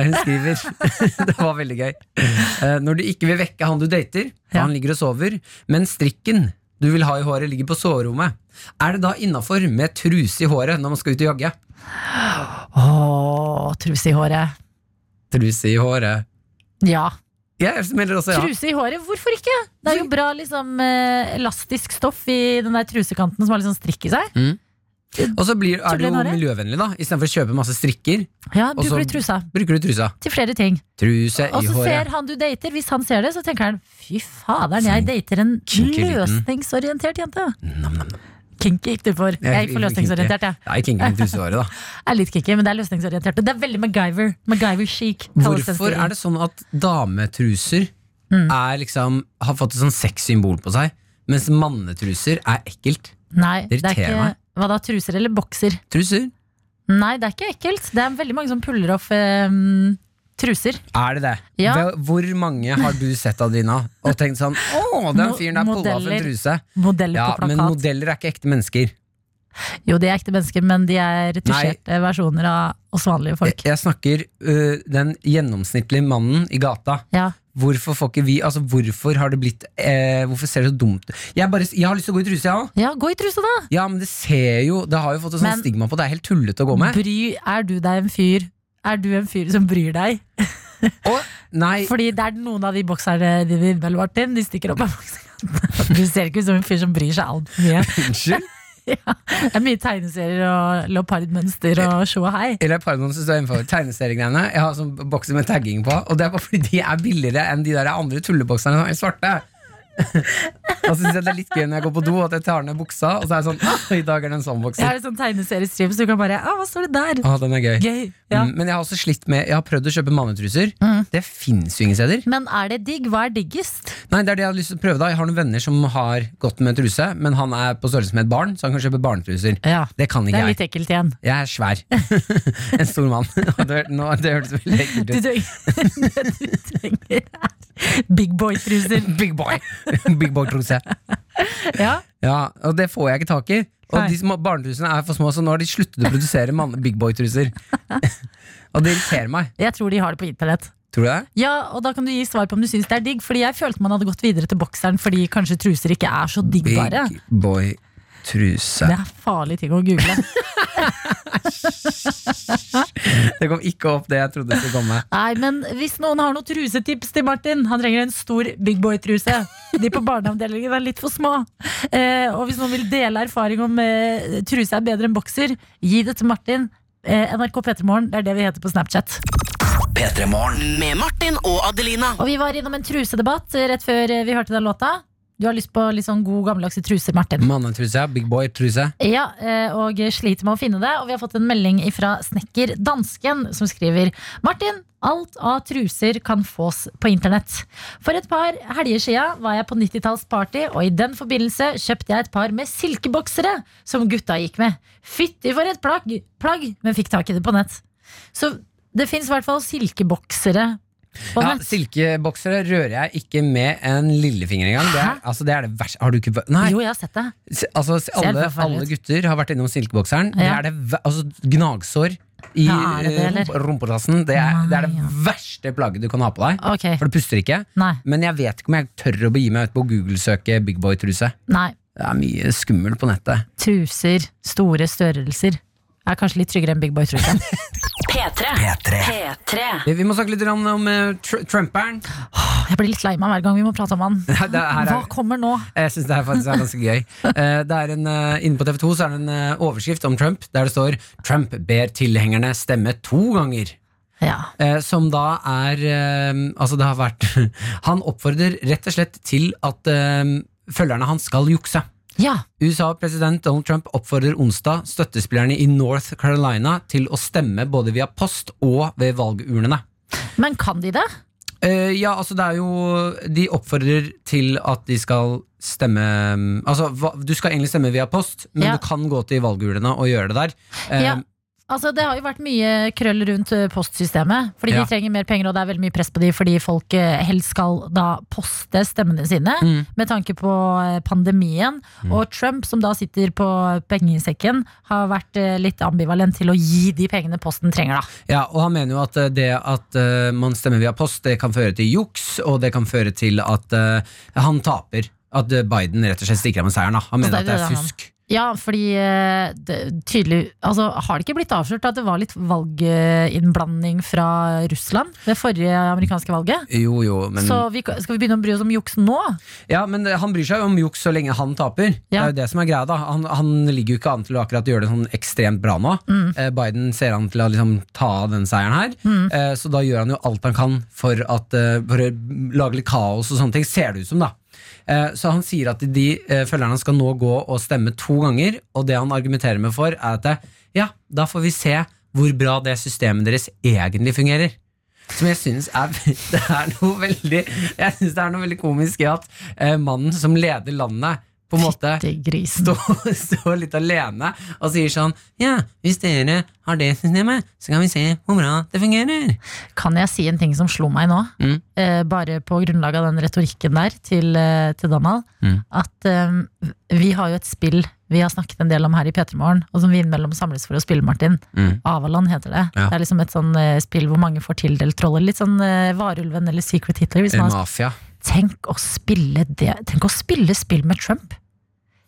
Hun skriver Det var veldig gøy. Eh, når du ikke vil vekke han du dater, for Ja. han ligger og sover, men strikken du vil ha i håret, ligger på soverommet, er det da innafor med truse i håret når man skal ut og jogge? Åh, truse i håret. Truse i håret. Ja. Ja, jeg melder også ja. Truse i håret, hvorfor ikke? Det er jo bra liksom, eh, elastisk stoff i den der trusekanten som har litt sånn strikk i Mm. seg. Og så blir, er det jo Tullehåret. miljøvennlig, da. Istedenfor å kjøpe masse strikker, Ja, Og så- Bruker du trusa bruker du trusa. til flere ting. Truse Og i så håret. ser han du dater, hvis han ser det, så tenker han fy faderen, jeg dater en kinky liten. løsningsorientert jente. Kinky gikk du for. Jeg gikk for løsningsorientert, jeg. Nei, kinky med truse i håret, da. Jeg er litt kinky, men det er løsningsorientert. Og det er veldig MacGyver. MacGyver chic. Hvorfor er det sånn at dametruser Mm. er liksom, har fått et sånn sexsymbol på seg, mens mannetruser er ekkelt? Nei, det er irriterer ikke meg? Hva da, truser eller bokser? Truser? Nei, det er ikke ekkelt. Det er veldig mange som puller off ehm, truser. Er det det? Ja. Hvor- Hvor mange har du sett, Adrina, og tenkt sånn Å, den Mo- fyren der pulla opp en modeller. truse. Modeller Ja, på men plakat. modeller er ikke ekte mennesker. Jo, de er ekte mennesker, men de er retusjerte versjoner av oss vanlige Jeg, folk. jeg snakker øh, den gjennomsnittlige mannen i gata. Ja. Hvorfor får ikke vi Altså, hvorfor har det blitt eh, Hvorfor ser det så dumt ut? Jeg, bare- jeg har lyst til å gå i truse, jeg òg. ja, gå i truse, da! Ja, men det ser jo Det har jo fått et sånt Men- stigma på. Det er helt tullete å gå med. Bry, er du deg en fyr Er du en fyr som bryr deg? Og, nei, Fordi det er noen av de bokserne dine, vel, Martin, de stikker opp av bokserkanten. Du ser ikke ut som en fyr som bryr seg altfor mye. unnskyld. Ja, det er mye tegneserier og leopardmønster og sjå og hei. Eller pardon, så står jeg innenfor tegneseriegreiene. Jeg har sånn bokser med tagging på, og det er bare fordi de er billigere enn de der andre tullebokserne som er svarte. Og så syns jeg det er litt gøy når jeg går på do, at jeg tar ned buksa, og så er jeg sånn ah, I dag er det en sånn Jeg har bokser. en sånn tegneseriestrip, så du kan bare ah, Hva står det der? Ah, den er gøy. Gøy. Ja. Mm. Mm, Men jeg har også slitt med Jeg har prøvd å kjøpe mannetruser. Det fins jo ingen steder. Men er det digg? Hva er diggest? Nei, det er det Jeg hadde lyst til å prøve da Jeg har noen venner som har gått med truse, men han er på størrelse med et barn, så han kan kjøpe barnetruser. Ja, Det kan Det ikke er jeg. litt ekkelt igjen. Jeg er svær. en stor mann. Og det, nå, det hørtes veldig ekkelt Du ut. trenger, det du trenger er big boy-truser. Big boy! Big boy-truse. Ja. Ja, og det får jeg ikke tak i. Og Nei. de små barnetrusene er for små, så nå har de sluttet å produsere mann- big boy-truser. og det irriterer meg. Jeg tror de har det på internett. Tror du det? Ja, og da kan du gi svar på om du syns det er digg. Fordi jeg følte man hadde gått videre til bokseren fordi kanskje truser ikke er så digg, bare. Big boy-truse. Det er farlige ting å google. Det kom ikke opp det jeg trodde det skulle komme. Nei, men hvis noen har noen trusetips til Martin Han trenger en stor big boy-truse. De på barneavdelingen er litt for små. Eh, og hvis noen vil dele erfaring om eh, truse er bedre enn bokser, gi det til Martin. Eh, NRK P3morgen, det er det vi heter på Snapchat. P3morgen. Med Martin og Adelina. Og vi var innom en trusedebatt eh, rett før eh, vi hørte den låta. Du har lyst på litt sånn god gammeldagse truser, Martin. Mannetruse, big boy-truse. Ja, eh, og sliter med å finne det. Og vi har fått en melding fra snekker Dansken, som skriver Martin, alt av truser kan fås på internett. For et par helger sia var jeg på 90-tallsparty, og i den forbindelse kjøpte jeg et par med silkeboksere som gutta gikk med. Fytti for et plagg, plagg men fikk tak i det på nett. Så det fins i hvert fall silkeboksere på Ja, nett. silkeboksere rører jeg ikke med en lillefinger engang. Det er, altså, det er det verste. Har du ikke Nei! Jo, jeg har sett det. Se- Altså, se- alle, forferdelig alle ut. gutter har vært innom silkebokseren. Det Ja. er det ver- altså, gnagsår i Ja, er det det, eller? rump- rumpedassen. Det, er- det er Nei, det ja. verste plagget du kan ha på deg. Ok, For det puster ikke. nei, Men jeg vet ikke om jeg tør å begi meg ut på å google-søke Big Boy-truse. nei. Det er mye skummelt på nettet. Truser, store størrelser. Er kanskje litt tryggere enn Big Boy-trusen. Vi må snakke litt grann om eh, tr Trumperen. Jeg blir litt lei meg hver gang vi må prate om han. Nei, det her er- Hva kommer nå? Jeg synes det her faktisk er ganske gøy. Eh, Det er en, eh, inne på TV 2 så er det en eh, overskrift om Trump der det står 'Trump ber tilhengerne stemme to ganger'. Ja. Eh, som da er eh, Altså, det har vært Han oppfordrer rett og slett til at eh, følgerne hans skal jukse. ja. USA-president Donald Trump oppfordrer onsdag støttespillerne i North Carolina til å stemme både via post og ved valgurnene. Men kan de det? Eh, ja, altså det er jo De oppfordrer til at de skal stemme Altså, hva, du skal egentlig stemme via post, men Ja. du kan gå til valgurnene og gjøre det der. Eh, Ja. Altså, det har jo vært mye krøll rundt eh, postsystemet. Fordi Ja. de trenger mer penger, og det er veldig mye press på de fordi folk eh, helst skal da poste stemmene sine. Mm. Med tanke på eh, pandemien. Og Trump, som da sitter på pengesekken, har vært eh, litt ambivalent til å gi de pengene posten trenger, da. Ja, og han mener jo at eh, det at eh, man stemmer via post, det kan føre til juks, og det kan føre til at eh, han taper. At eh, Biden rett og slett stikker av med seieren. Da. Så Han mener Altså, det er at det er det han- fusk. Ja, fordi eh, det, tydelig Altså, har det ikke blitt avslørt at det var litt valginnblanding fra Russland ved forrige amerikanske valget? Jo, jo, men, Så vi, skal vi begynne å bry oss om juks nå? ja, men eh, han bryr seg jo om juks så lenge han taper. Det Ja. er jo det som er greia da Han, han ligger jo ikke an til å akkurat gjøre det sånn ekstremt bra nå. Eh, Biden ser an til å liksom ta av den seieren her, Eh, så da gjør han jo alt han kan for, at, eh, for å lage litt kaos og sånne ting, ser det ut som, da. Eh, Så han sier at de eh, følgerne skal nå gå og stemme to ganger, og det han argumenterer med for, er at eh, ja, da får vi se hvor bra det systemet deres egentlig fungerer. Som jeg syns er, det er noe veldig Jeg synes det er noe veldig komisk i at eh, mannen som leder landet, på en måte Til grisen. står står litt alene og sier sånn Ja, hvis dere har det systemet, så kan vi se hvor bra det fungerer. Kan jeg si en ting som slo meg nå? Mm. Eh, bare på grunnlag av den retorikken der til, eh, til Donald. Mm. At eh, vi har jo et spill vi har snakket en del om her i P3morgen, og som vi innimellom samles for å spille, Martin. Mm. Avaland heter det. Ja. Det er liksom et sånn eh, spill hvor mange får tildelt roller. Litt sånn eh, Varulven eller Secret Hitler. Hvis Eller man har Mafia. Tenk å spille det Tenk å spille spill med Trump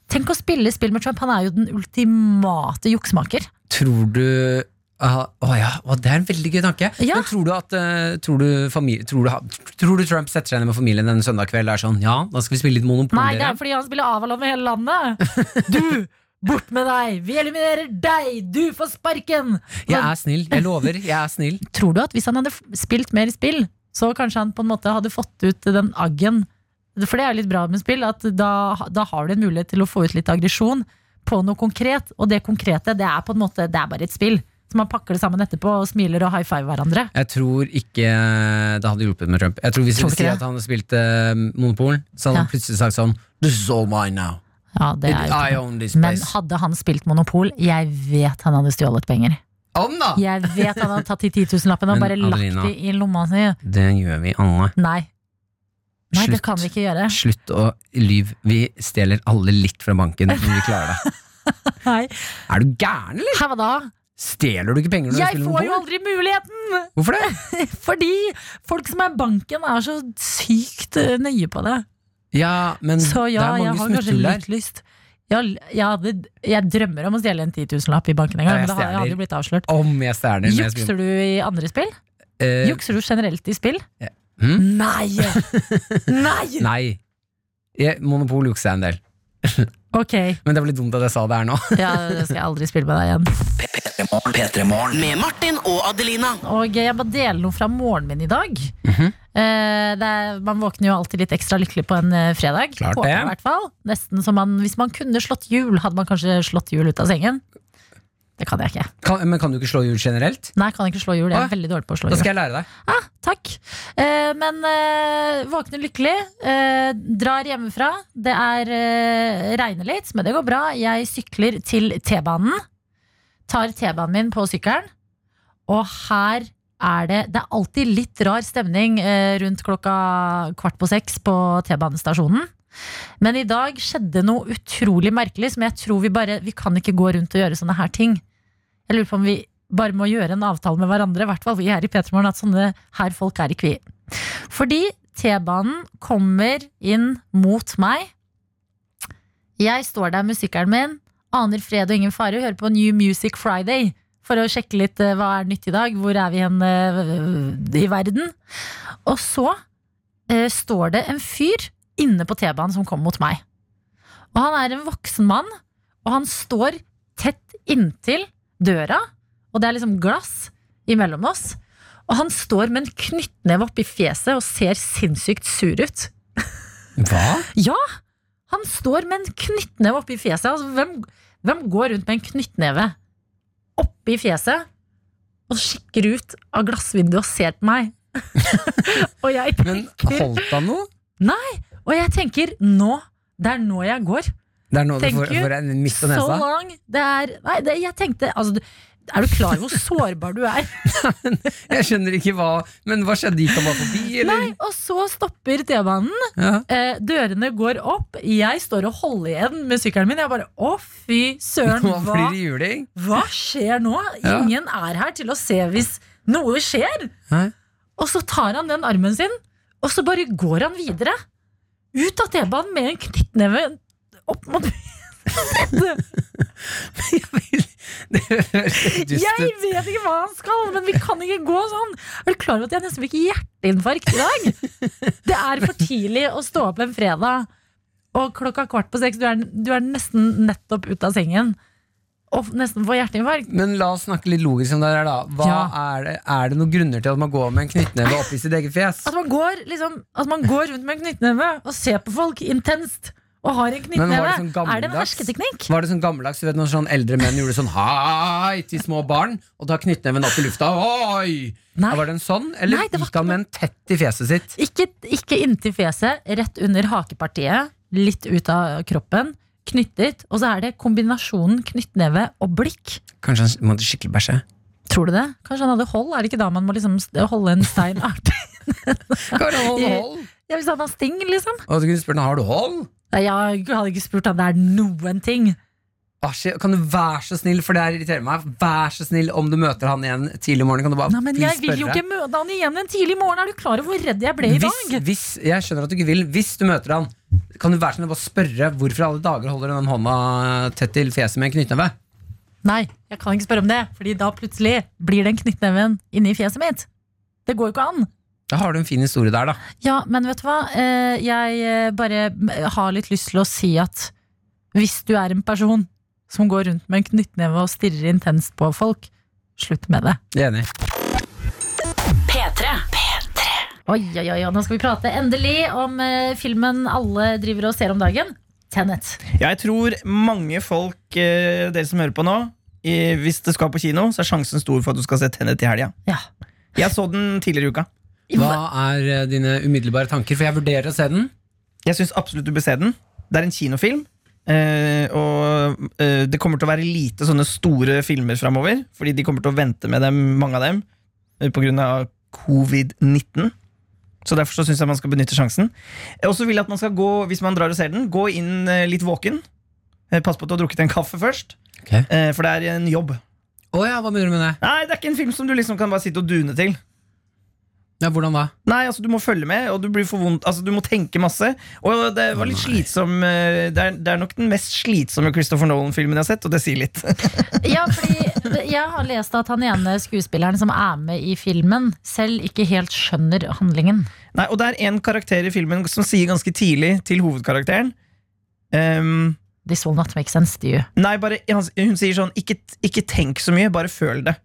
Tenk å spille spill med Trump Han er jo den ultimate juksmaker Tror du ah, Å ja, å, det er en veldig gøy tanke. Ja. Men tror du at eh, tror du, famili- tror, du, ha- tror du Trump setter seg ned med familien en søndag kveld og er sånn Ja, da skal vi spille litt Monopol? Nei, det dere». er fordi han spiller Avalon med hele landet Du, bort med deg Vi eliminerer deg, du får sparken Jeg er snill. Jeg lover. Jeg er snill. Tror du at hvis han hadde f- spilt mer spill Så kanskje han på en måte hadde fått ut den aggen For det er jo litt bra med spill, at da, da har du en mulighet til å få ut litt aggresjon på noe konkret, og det konkrete, det er på en måte, det er bare et spill. Så man pakker det sammen etterpå og smiler og high five hverandre. Jeg tror ikke det hadde hjulpet med Trump. Jeg tror Hvis Tror du vi ikke sier det? at han spilte eh, Monopol, så hadde han plutselig sagt sånn This is all mine now. Ja, det er jo I ikke noe. own this Men place. hadde han spilt Monopol, jeg vet han hadde stjålet penger. Han, da! Jeg vet han hadde tatt de 10 000-lappene og Ah. Men bare lagt Adelina- de i lomma si. Det gjør vi alle. Nei. Nei, det Slutt. kan vi ikke gjøre. Slutt å lyve. Vi stjeler alle litt fra banken, men vi klarer det. Nei. Er du gæren, eller? Hæ, hva da? Stjeler du ikke penger når du Jeg spiller får jo Monopol? aldri muligheten! Hvorfor det? Fordi folk som er banken, er så sykt eh, nøye på det. Ja, men Så ja, jeg Mm. det er mange har kanskje smutthull litt der. lyst. Jeg, jeg, hadde, jeg drømmer om å stjele en 10 000-lapp i banken en gang, Ja, jeg men det har jeg stjeler. aldri blitt avslørt. Om jeg stjeler men jeg spiller- Jukser du i andre spill? Eh, Jukser du generelt i spill? hm? Nei! Nei! Nei. Jeg, Monopol jukser jeg en del. Ok, Men det var litt dumt at jeg sa det her nå. ja, det skal jeg aldri spille med deg igjen. P3morgen. Med Martin og Adelina. Og jeg bare deler noe fra morgenen min i dag. Eh, det er, man våkner jo alltid litt ekstra lykkelig på en eh, fredag. Klart Håper jeg det. i hvert fall. Nesten som man, Hvis man kunne slått hjul, hadde man kanskje slått hjul ut av sengen. Det kan jeg ikke. Kan, men kan du ikke slå hjul generelt? Nei, jeg kan ikke slå hjul. Jeg Åh, er veldig dårlig på å slå Da hjul. skal jeg lære deg. Ah, takk. Eh, men eh, våkner lykkelig. Eh, drar hjemmefra. Det er eh, regner litt, men det går bra. Jeg sykler til T-banen. Tar T-banen min på sykkelen. Og her er det Det er alltid litt rar stemning eh, rundt klokka kvart på seks på T-banestasjonen. Men i dag skjedde noe utrolig merkelig som jeg tror vi bare Vi kan ikke gå rundt og gjøre sånne her ting. Jeg lurer på om vi bare må gjøre en avtale med hverandre, i hvert fall vi her i Petermorgen, at sånne her folk er i kvi. Fordi T-banen kommer inn mot meg. Jeg står der med sykkelen min, aner fred og ingen fare, hører på New Music Friday for å sjekke litt eh, hva er nytt i dag, hvor er vi hen eh, i verden. Og så eh, står det en fyr inne på T-banen som kommer mot meg. Og han er en voksen mann, og han står tett inntil døra, og det er liksom glass imellom oss. Og han står med en knyttneve oppi fjeset og ser sinnssykt sur ut. Hva? Ja! Han står med en knyttneve oppi fjeset. Altså, hvem, hvem går rundt med en knyttneve oppi fjeset og kikker ut av glassvinduet og ser på meg? og, jeg Men tenker, holdt han noe? og jeg tenker nå Det er nå jeg går. Det er noe du Thank får, you. får en midt på So nesa. long. Det er, nei, det, jeg tenkte altså, du- Er du klar over hvor sårbar du er? Jeg skjønner ikke hva Men hva skjedde? Gikk han bare forbi, eller? Nei, og så stopper T-banen. Ja. Eh, dørene går opp. Jeg står og holder igjen med sykkelen min. Jeg bare å, fy søren, Nå hva, blir det juling. hva skjer nå? Ja. Ingen er her til å se hvis noe skjer. Hæ? Og så tar han den armen sin, og så bare går han videre. Ut av T-banen med en knyttneve opp mot Det høres helt dust Jeg ut. vet ikke hva han skal, men vi kan ikke gå sånn. Er du klar over at jeg nesten fikk hjerteinfarkt i dag? Det er for tidlig å stå opp en fredag, og klokka kvart på seks, du er, du er nesten nettopp ut av sengen. Og nesten får hjerteinfarkt. Men la oss snakke litt logisk om det her, da. Hva Ja. er, det, er det noen grunner til at man går med en knyttneve oppi sitt eget fjes? At man går, liksom, at man går rundt med en knyttneve og ser på folk intenst og har en Men var knyttneve. det sånn er det en gammeldags? hersketeknikk? Var det sånn gammeldags, du vet når sånn eldre menn gjorde sånn hei til små barn, og da knyttneven opp i lufta? Oi! Nei. Ja, Var det en sånn, eller Nei, det var gikk han med en tett i fjeset sitt? Ikke, ikke inntil fjeset, rett under hakepartiet, litt ut av kroppen, knyttet, og så er det kombinasjonen knyttneve og blikk. Kanskje han måtte skikkelig bæsje? Tror du det? Kanskje han hadde hold? Er det ikke da man må liksom st- holde en stein artig? Kanskje han hadde hold? Ja, Hvis han har sting, liksom? Og du kunne spurt han, har du hold? Nei, jeg hadde ikke spurt han det er noen ting. Asje, kan du være så snill, for det her irriterer meg Vær så snill om du møter han igjen tidlig i morgen. Kan du bare Nei, men jeg please vil jo spørre? ikke møte han igjen en tidlig morgen. Er du klar over hvor redd jeg ble i hvis, dag? hvis, jeg skjønner at du ikke vil Hvis du møter han, kan du være så snill å bare spørre hvorfor i alle dager holder du den hånda tett til fjeset med en knyttneve? Nei, jeg kan ikke spørre om det, Fordi da plutselig blir den knyttneven inni fjeset mitt. Det går jo ikke an. Da har du en fin historie der, da. Ja, men vet du hva? Eh, Jeg eh, bare har litt lyst til å si at hvis du er en person som går rundt med en knyttneve og stirrer intenst på folk, slutt med det. Jeg er enig. Oi, oi, oi, og Nå skal vi prate endelig om eh, filmen alle driver og ser om dagen. Tenet. Jeg tror mange folk, eh, dere som hører på nå, i, hvis det skal på kino, så er sjansen stor for at du skal se Tenet i helga. Ja. Jeg så den tidligere i uka. Hva er eh, dine umiddelbare tanker? For jeg vurderer å se den. Jeg syns absolutt du bør se den. Det er en kinofilm. eh, og eh, det kommer til å være lite sånne store filmer framover, fordi de kommer til å vente med dem, mange av dem, eh, på grunn av covid-19. Så derfor så syns jeg man skal benytte sjansen. Jeg også vil jeg at man skal gå, hvis man drar og ser den, gå inn eh, litt våken. Eh, Pass på at du har drukket en kaffe først, Ok. eh, for det er en jobb. Å ja, hva mener du med det? Nei, det er ikke en film som du liksom kan bare sitte og dune til. Ja, hvordan da? Nei, altså du må følge med, og du blir for vondt Altså du må tenke masse Og det var litt slitsom eh, Det er, det er nok den mest slitsomme Christopher Nolan-filmen jeg har sett Og det sier litt Ja, fordi jeg har lest at han ene skuespilleren som er med i filmen, selv ikke helt skjønner handlingen. Nei, og det er en karakter i filmen Som sier ganske tidlig til hovedkarakteren ehm, This will not make sense to you. Nei, bare, han- hun sier sånn ikke, ikke tenk så mye, bare føl det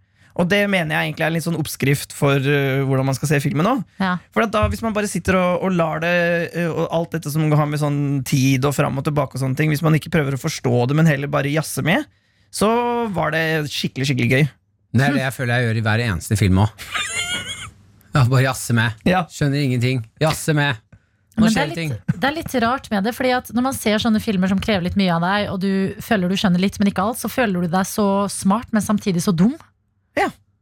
Og det mener jeg egentlig er en litt sånn oppskrift For eh, hvordan man skal se filmen nå Ja. For at da, hvis man bare sitter og, og lar det eh, Og alt dette som har med sånn tid og fram og tilbake og sånne ting Hvis man ikke prøver å forstå det, men heller bare jazze med, så var det skikkelig skikkelig gøy. Det er det jeg føler jeg gjør i hver eneste film òg. Bare jazze med. Ja. Skjønner ingenting. Jazze med. Nå Men det, skjer er det ting. litt, det er litt rart med det, Fordi at når man ser sånne filmer som krever litt mye av deg, og du føler du skjønner litt, men ikke alt, så føler du deg så smart, men samtidig så dum.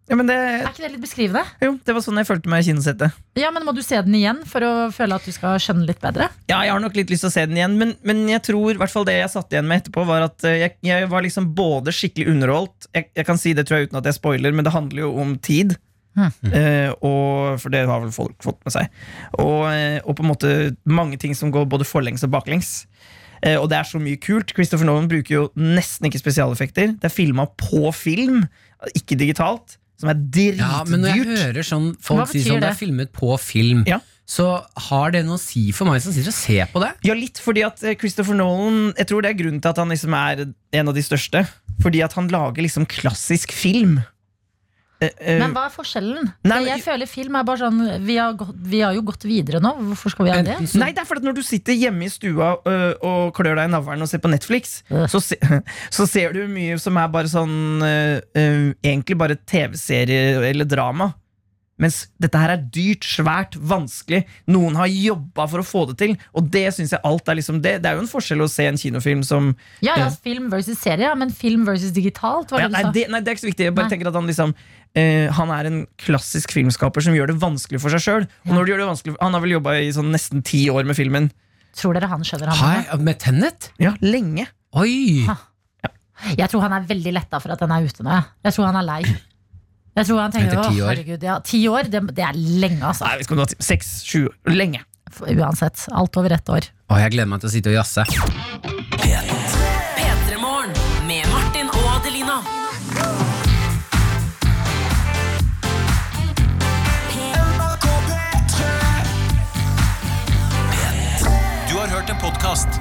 Ja, men det, Er ikke det litt beskrivende? jo, det var sånn jeg følte meg i kinosettet. Ja, men Må du se den igjen for å føle at du skal skjønne litt bedre? Ja, jeg har nok litt lyst til å se den igjen, men, men jeg tror i hvert fall det jeg satt igjen med etterpå, var at eh, jeg, jeg var liksom både skikkelig underholdt jeg, jeg kan si det tror jeg uten at jeg spoiler, men det handler jo om tid. Eh, og, for det har vel folk fått med seg. Og, eh, og på en måte mange ting som går både forlengs og baklengs. Eh, og det er så mye kult. Christopher Nolan bruker jo nesten ikke spesialeffekter. Det er filma på film, ikke digitalt, som er Ja, men når jeg dritdyrt. hører sånn folk Hva si sånn betyr det er det? filmet på film, Ja. så har det noe å si for meg som sitter og ser på det? Ja, litt fordi at eh, Christopher Nolan Jeg tror det er grunnen til at han liksom er en av de største. Fordi at han lager liksom klassisk film. Eh, eh, Men hva er forskjellen? Nei, men- jeg føler film er bare sånn Vi har, gått, vi har jo gått videre nå, hvorfor skal vi ha det? Enten så Nei, det er fordi at når du sitter hjemme i stua ø, og klør deg i navlen og ser på Netflix, Øh. så, se, så ser du mye som er bare sånn ø, ø, Egentlig bare TV-serie eller drama. Mens dette her er dyrt, svært, vanskelig. Noen har jobba for å få det til. Og det synes jeg alt er liksom det. Det er jo en forskjell å se en kinofilm som Ja, ja, Ja. film versus serie, ja, men film versus digitalt, var ja, det nei, du sa? det, nei, det er ikke så viktig. Jeg bare Nei. tenker at han liksom eh, Han er en klassisk filmskaper som gjør det vanskelig for seg sjøl. Og når du gjør det vanskelig Han har vel jobba i sånn nesten ti år med filmen. Tror dere han skjønner Hei, handlingen? med Tennet? Ja, lenge. Oi! Ha. Jeg tror han er veldig letta for at den er ute nå. jeg. Jeg tror han er lei. Jeg tror han tenker, Etter å ti år. herregud, ja, ti år, det, det er lenge, altså. Nei, jeg vet ikke om det var ti- Seks, sju Lenge. F- Uansett. Alt over ett år. Å, jeg gleder meg til å sitte og jazze. P3morgen med Martin og Adelina. Du har hørt en podcast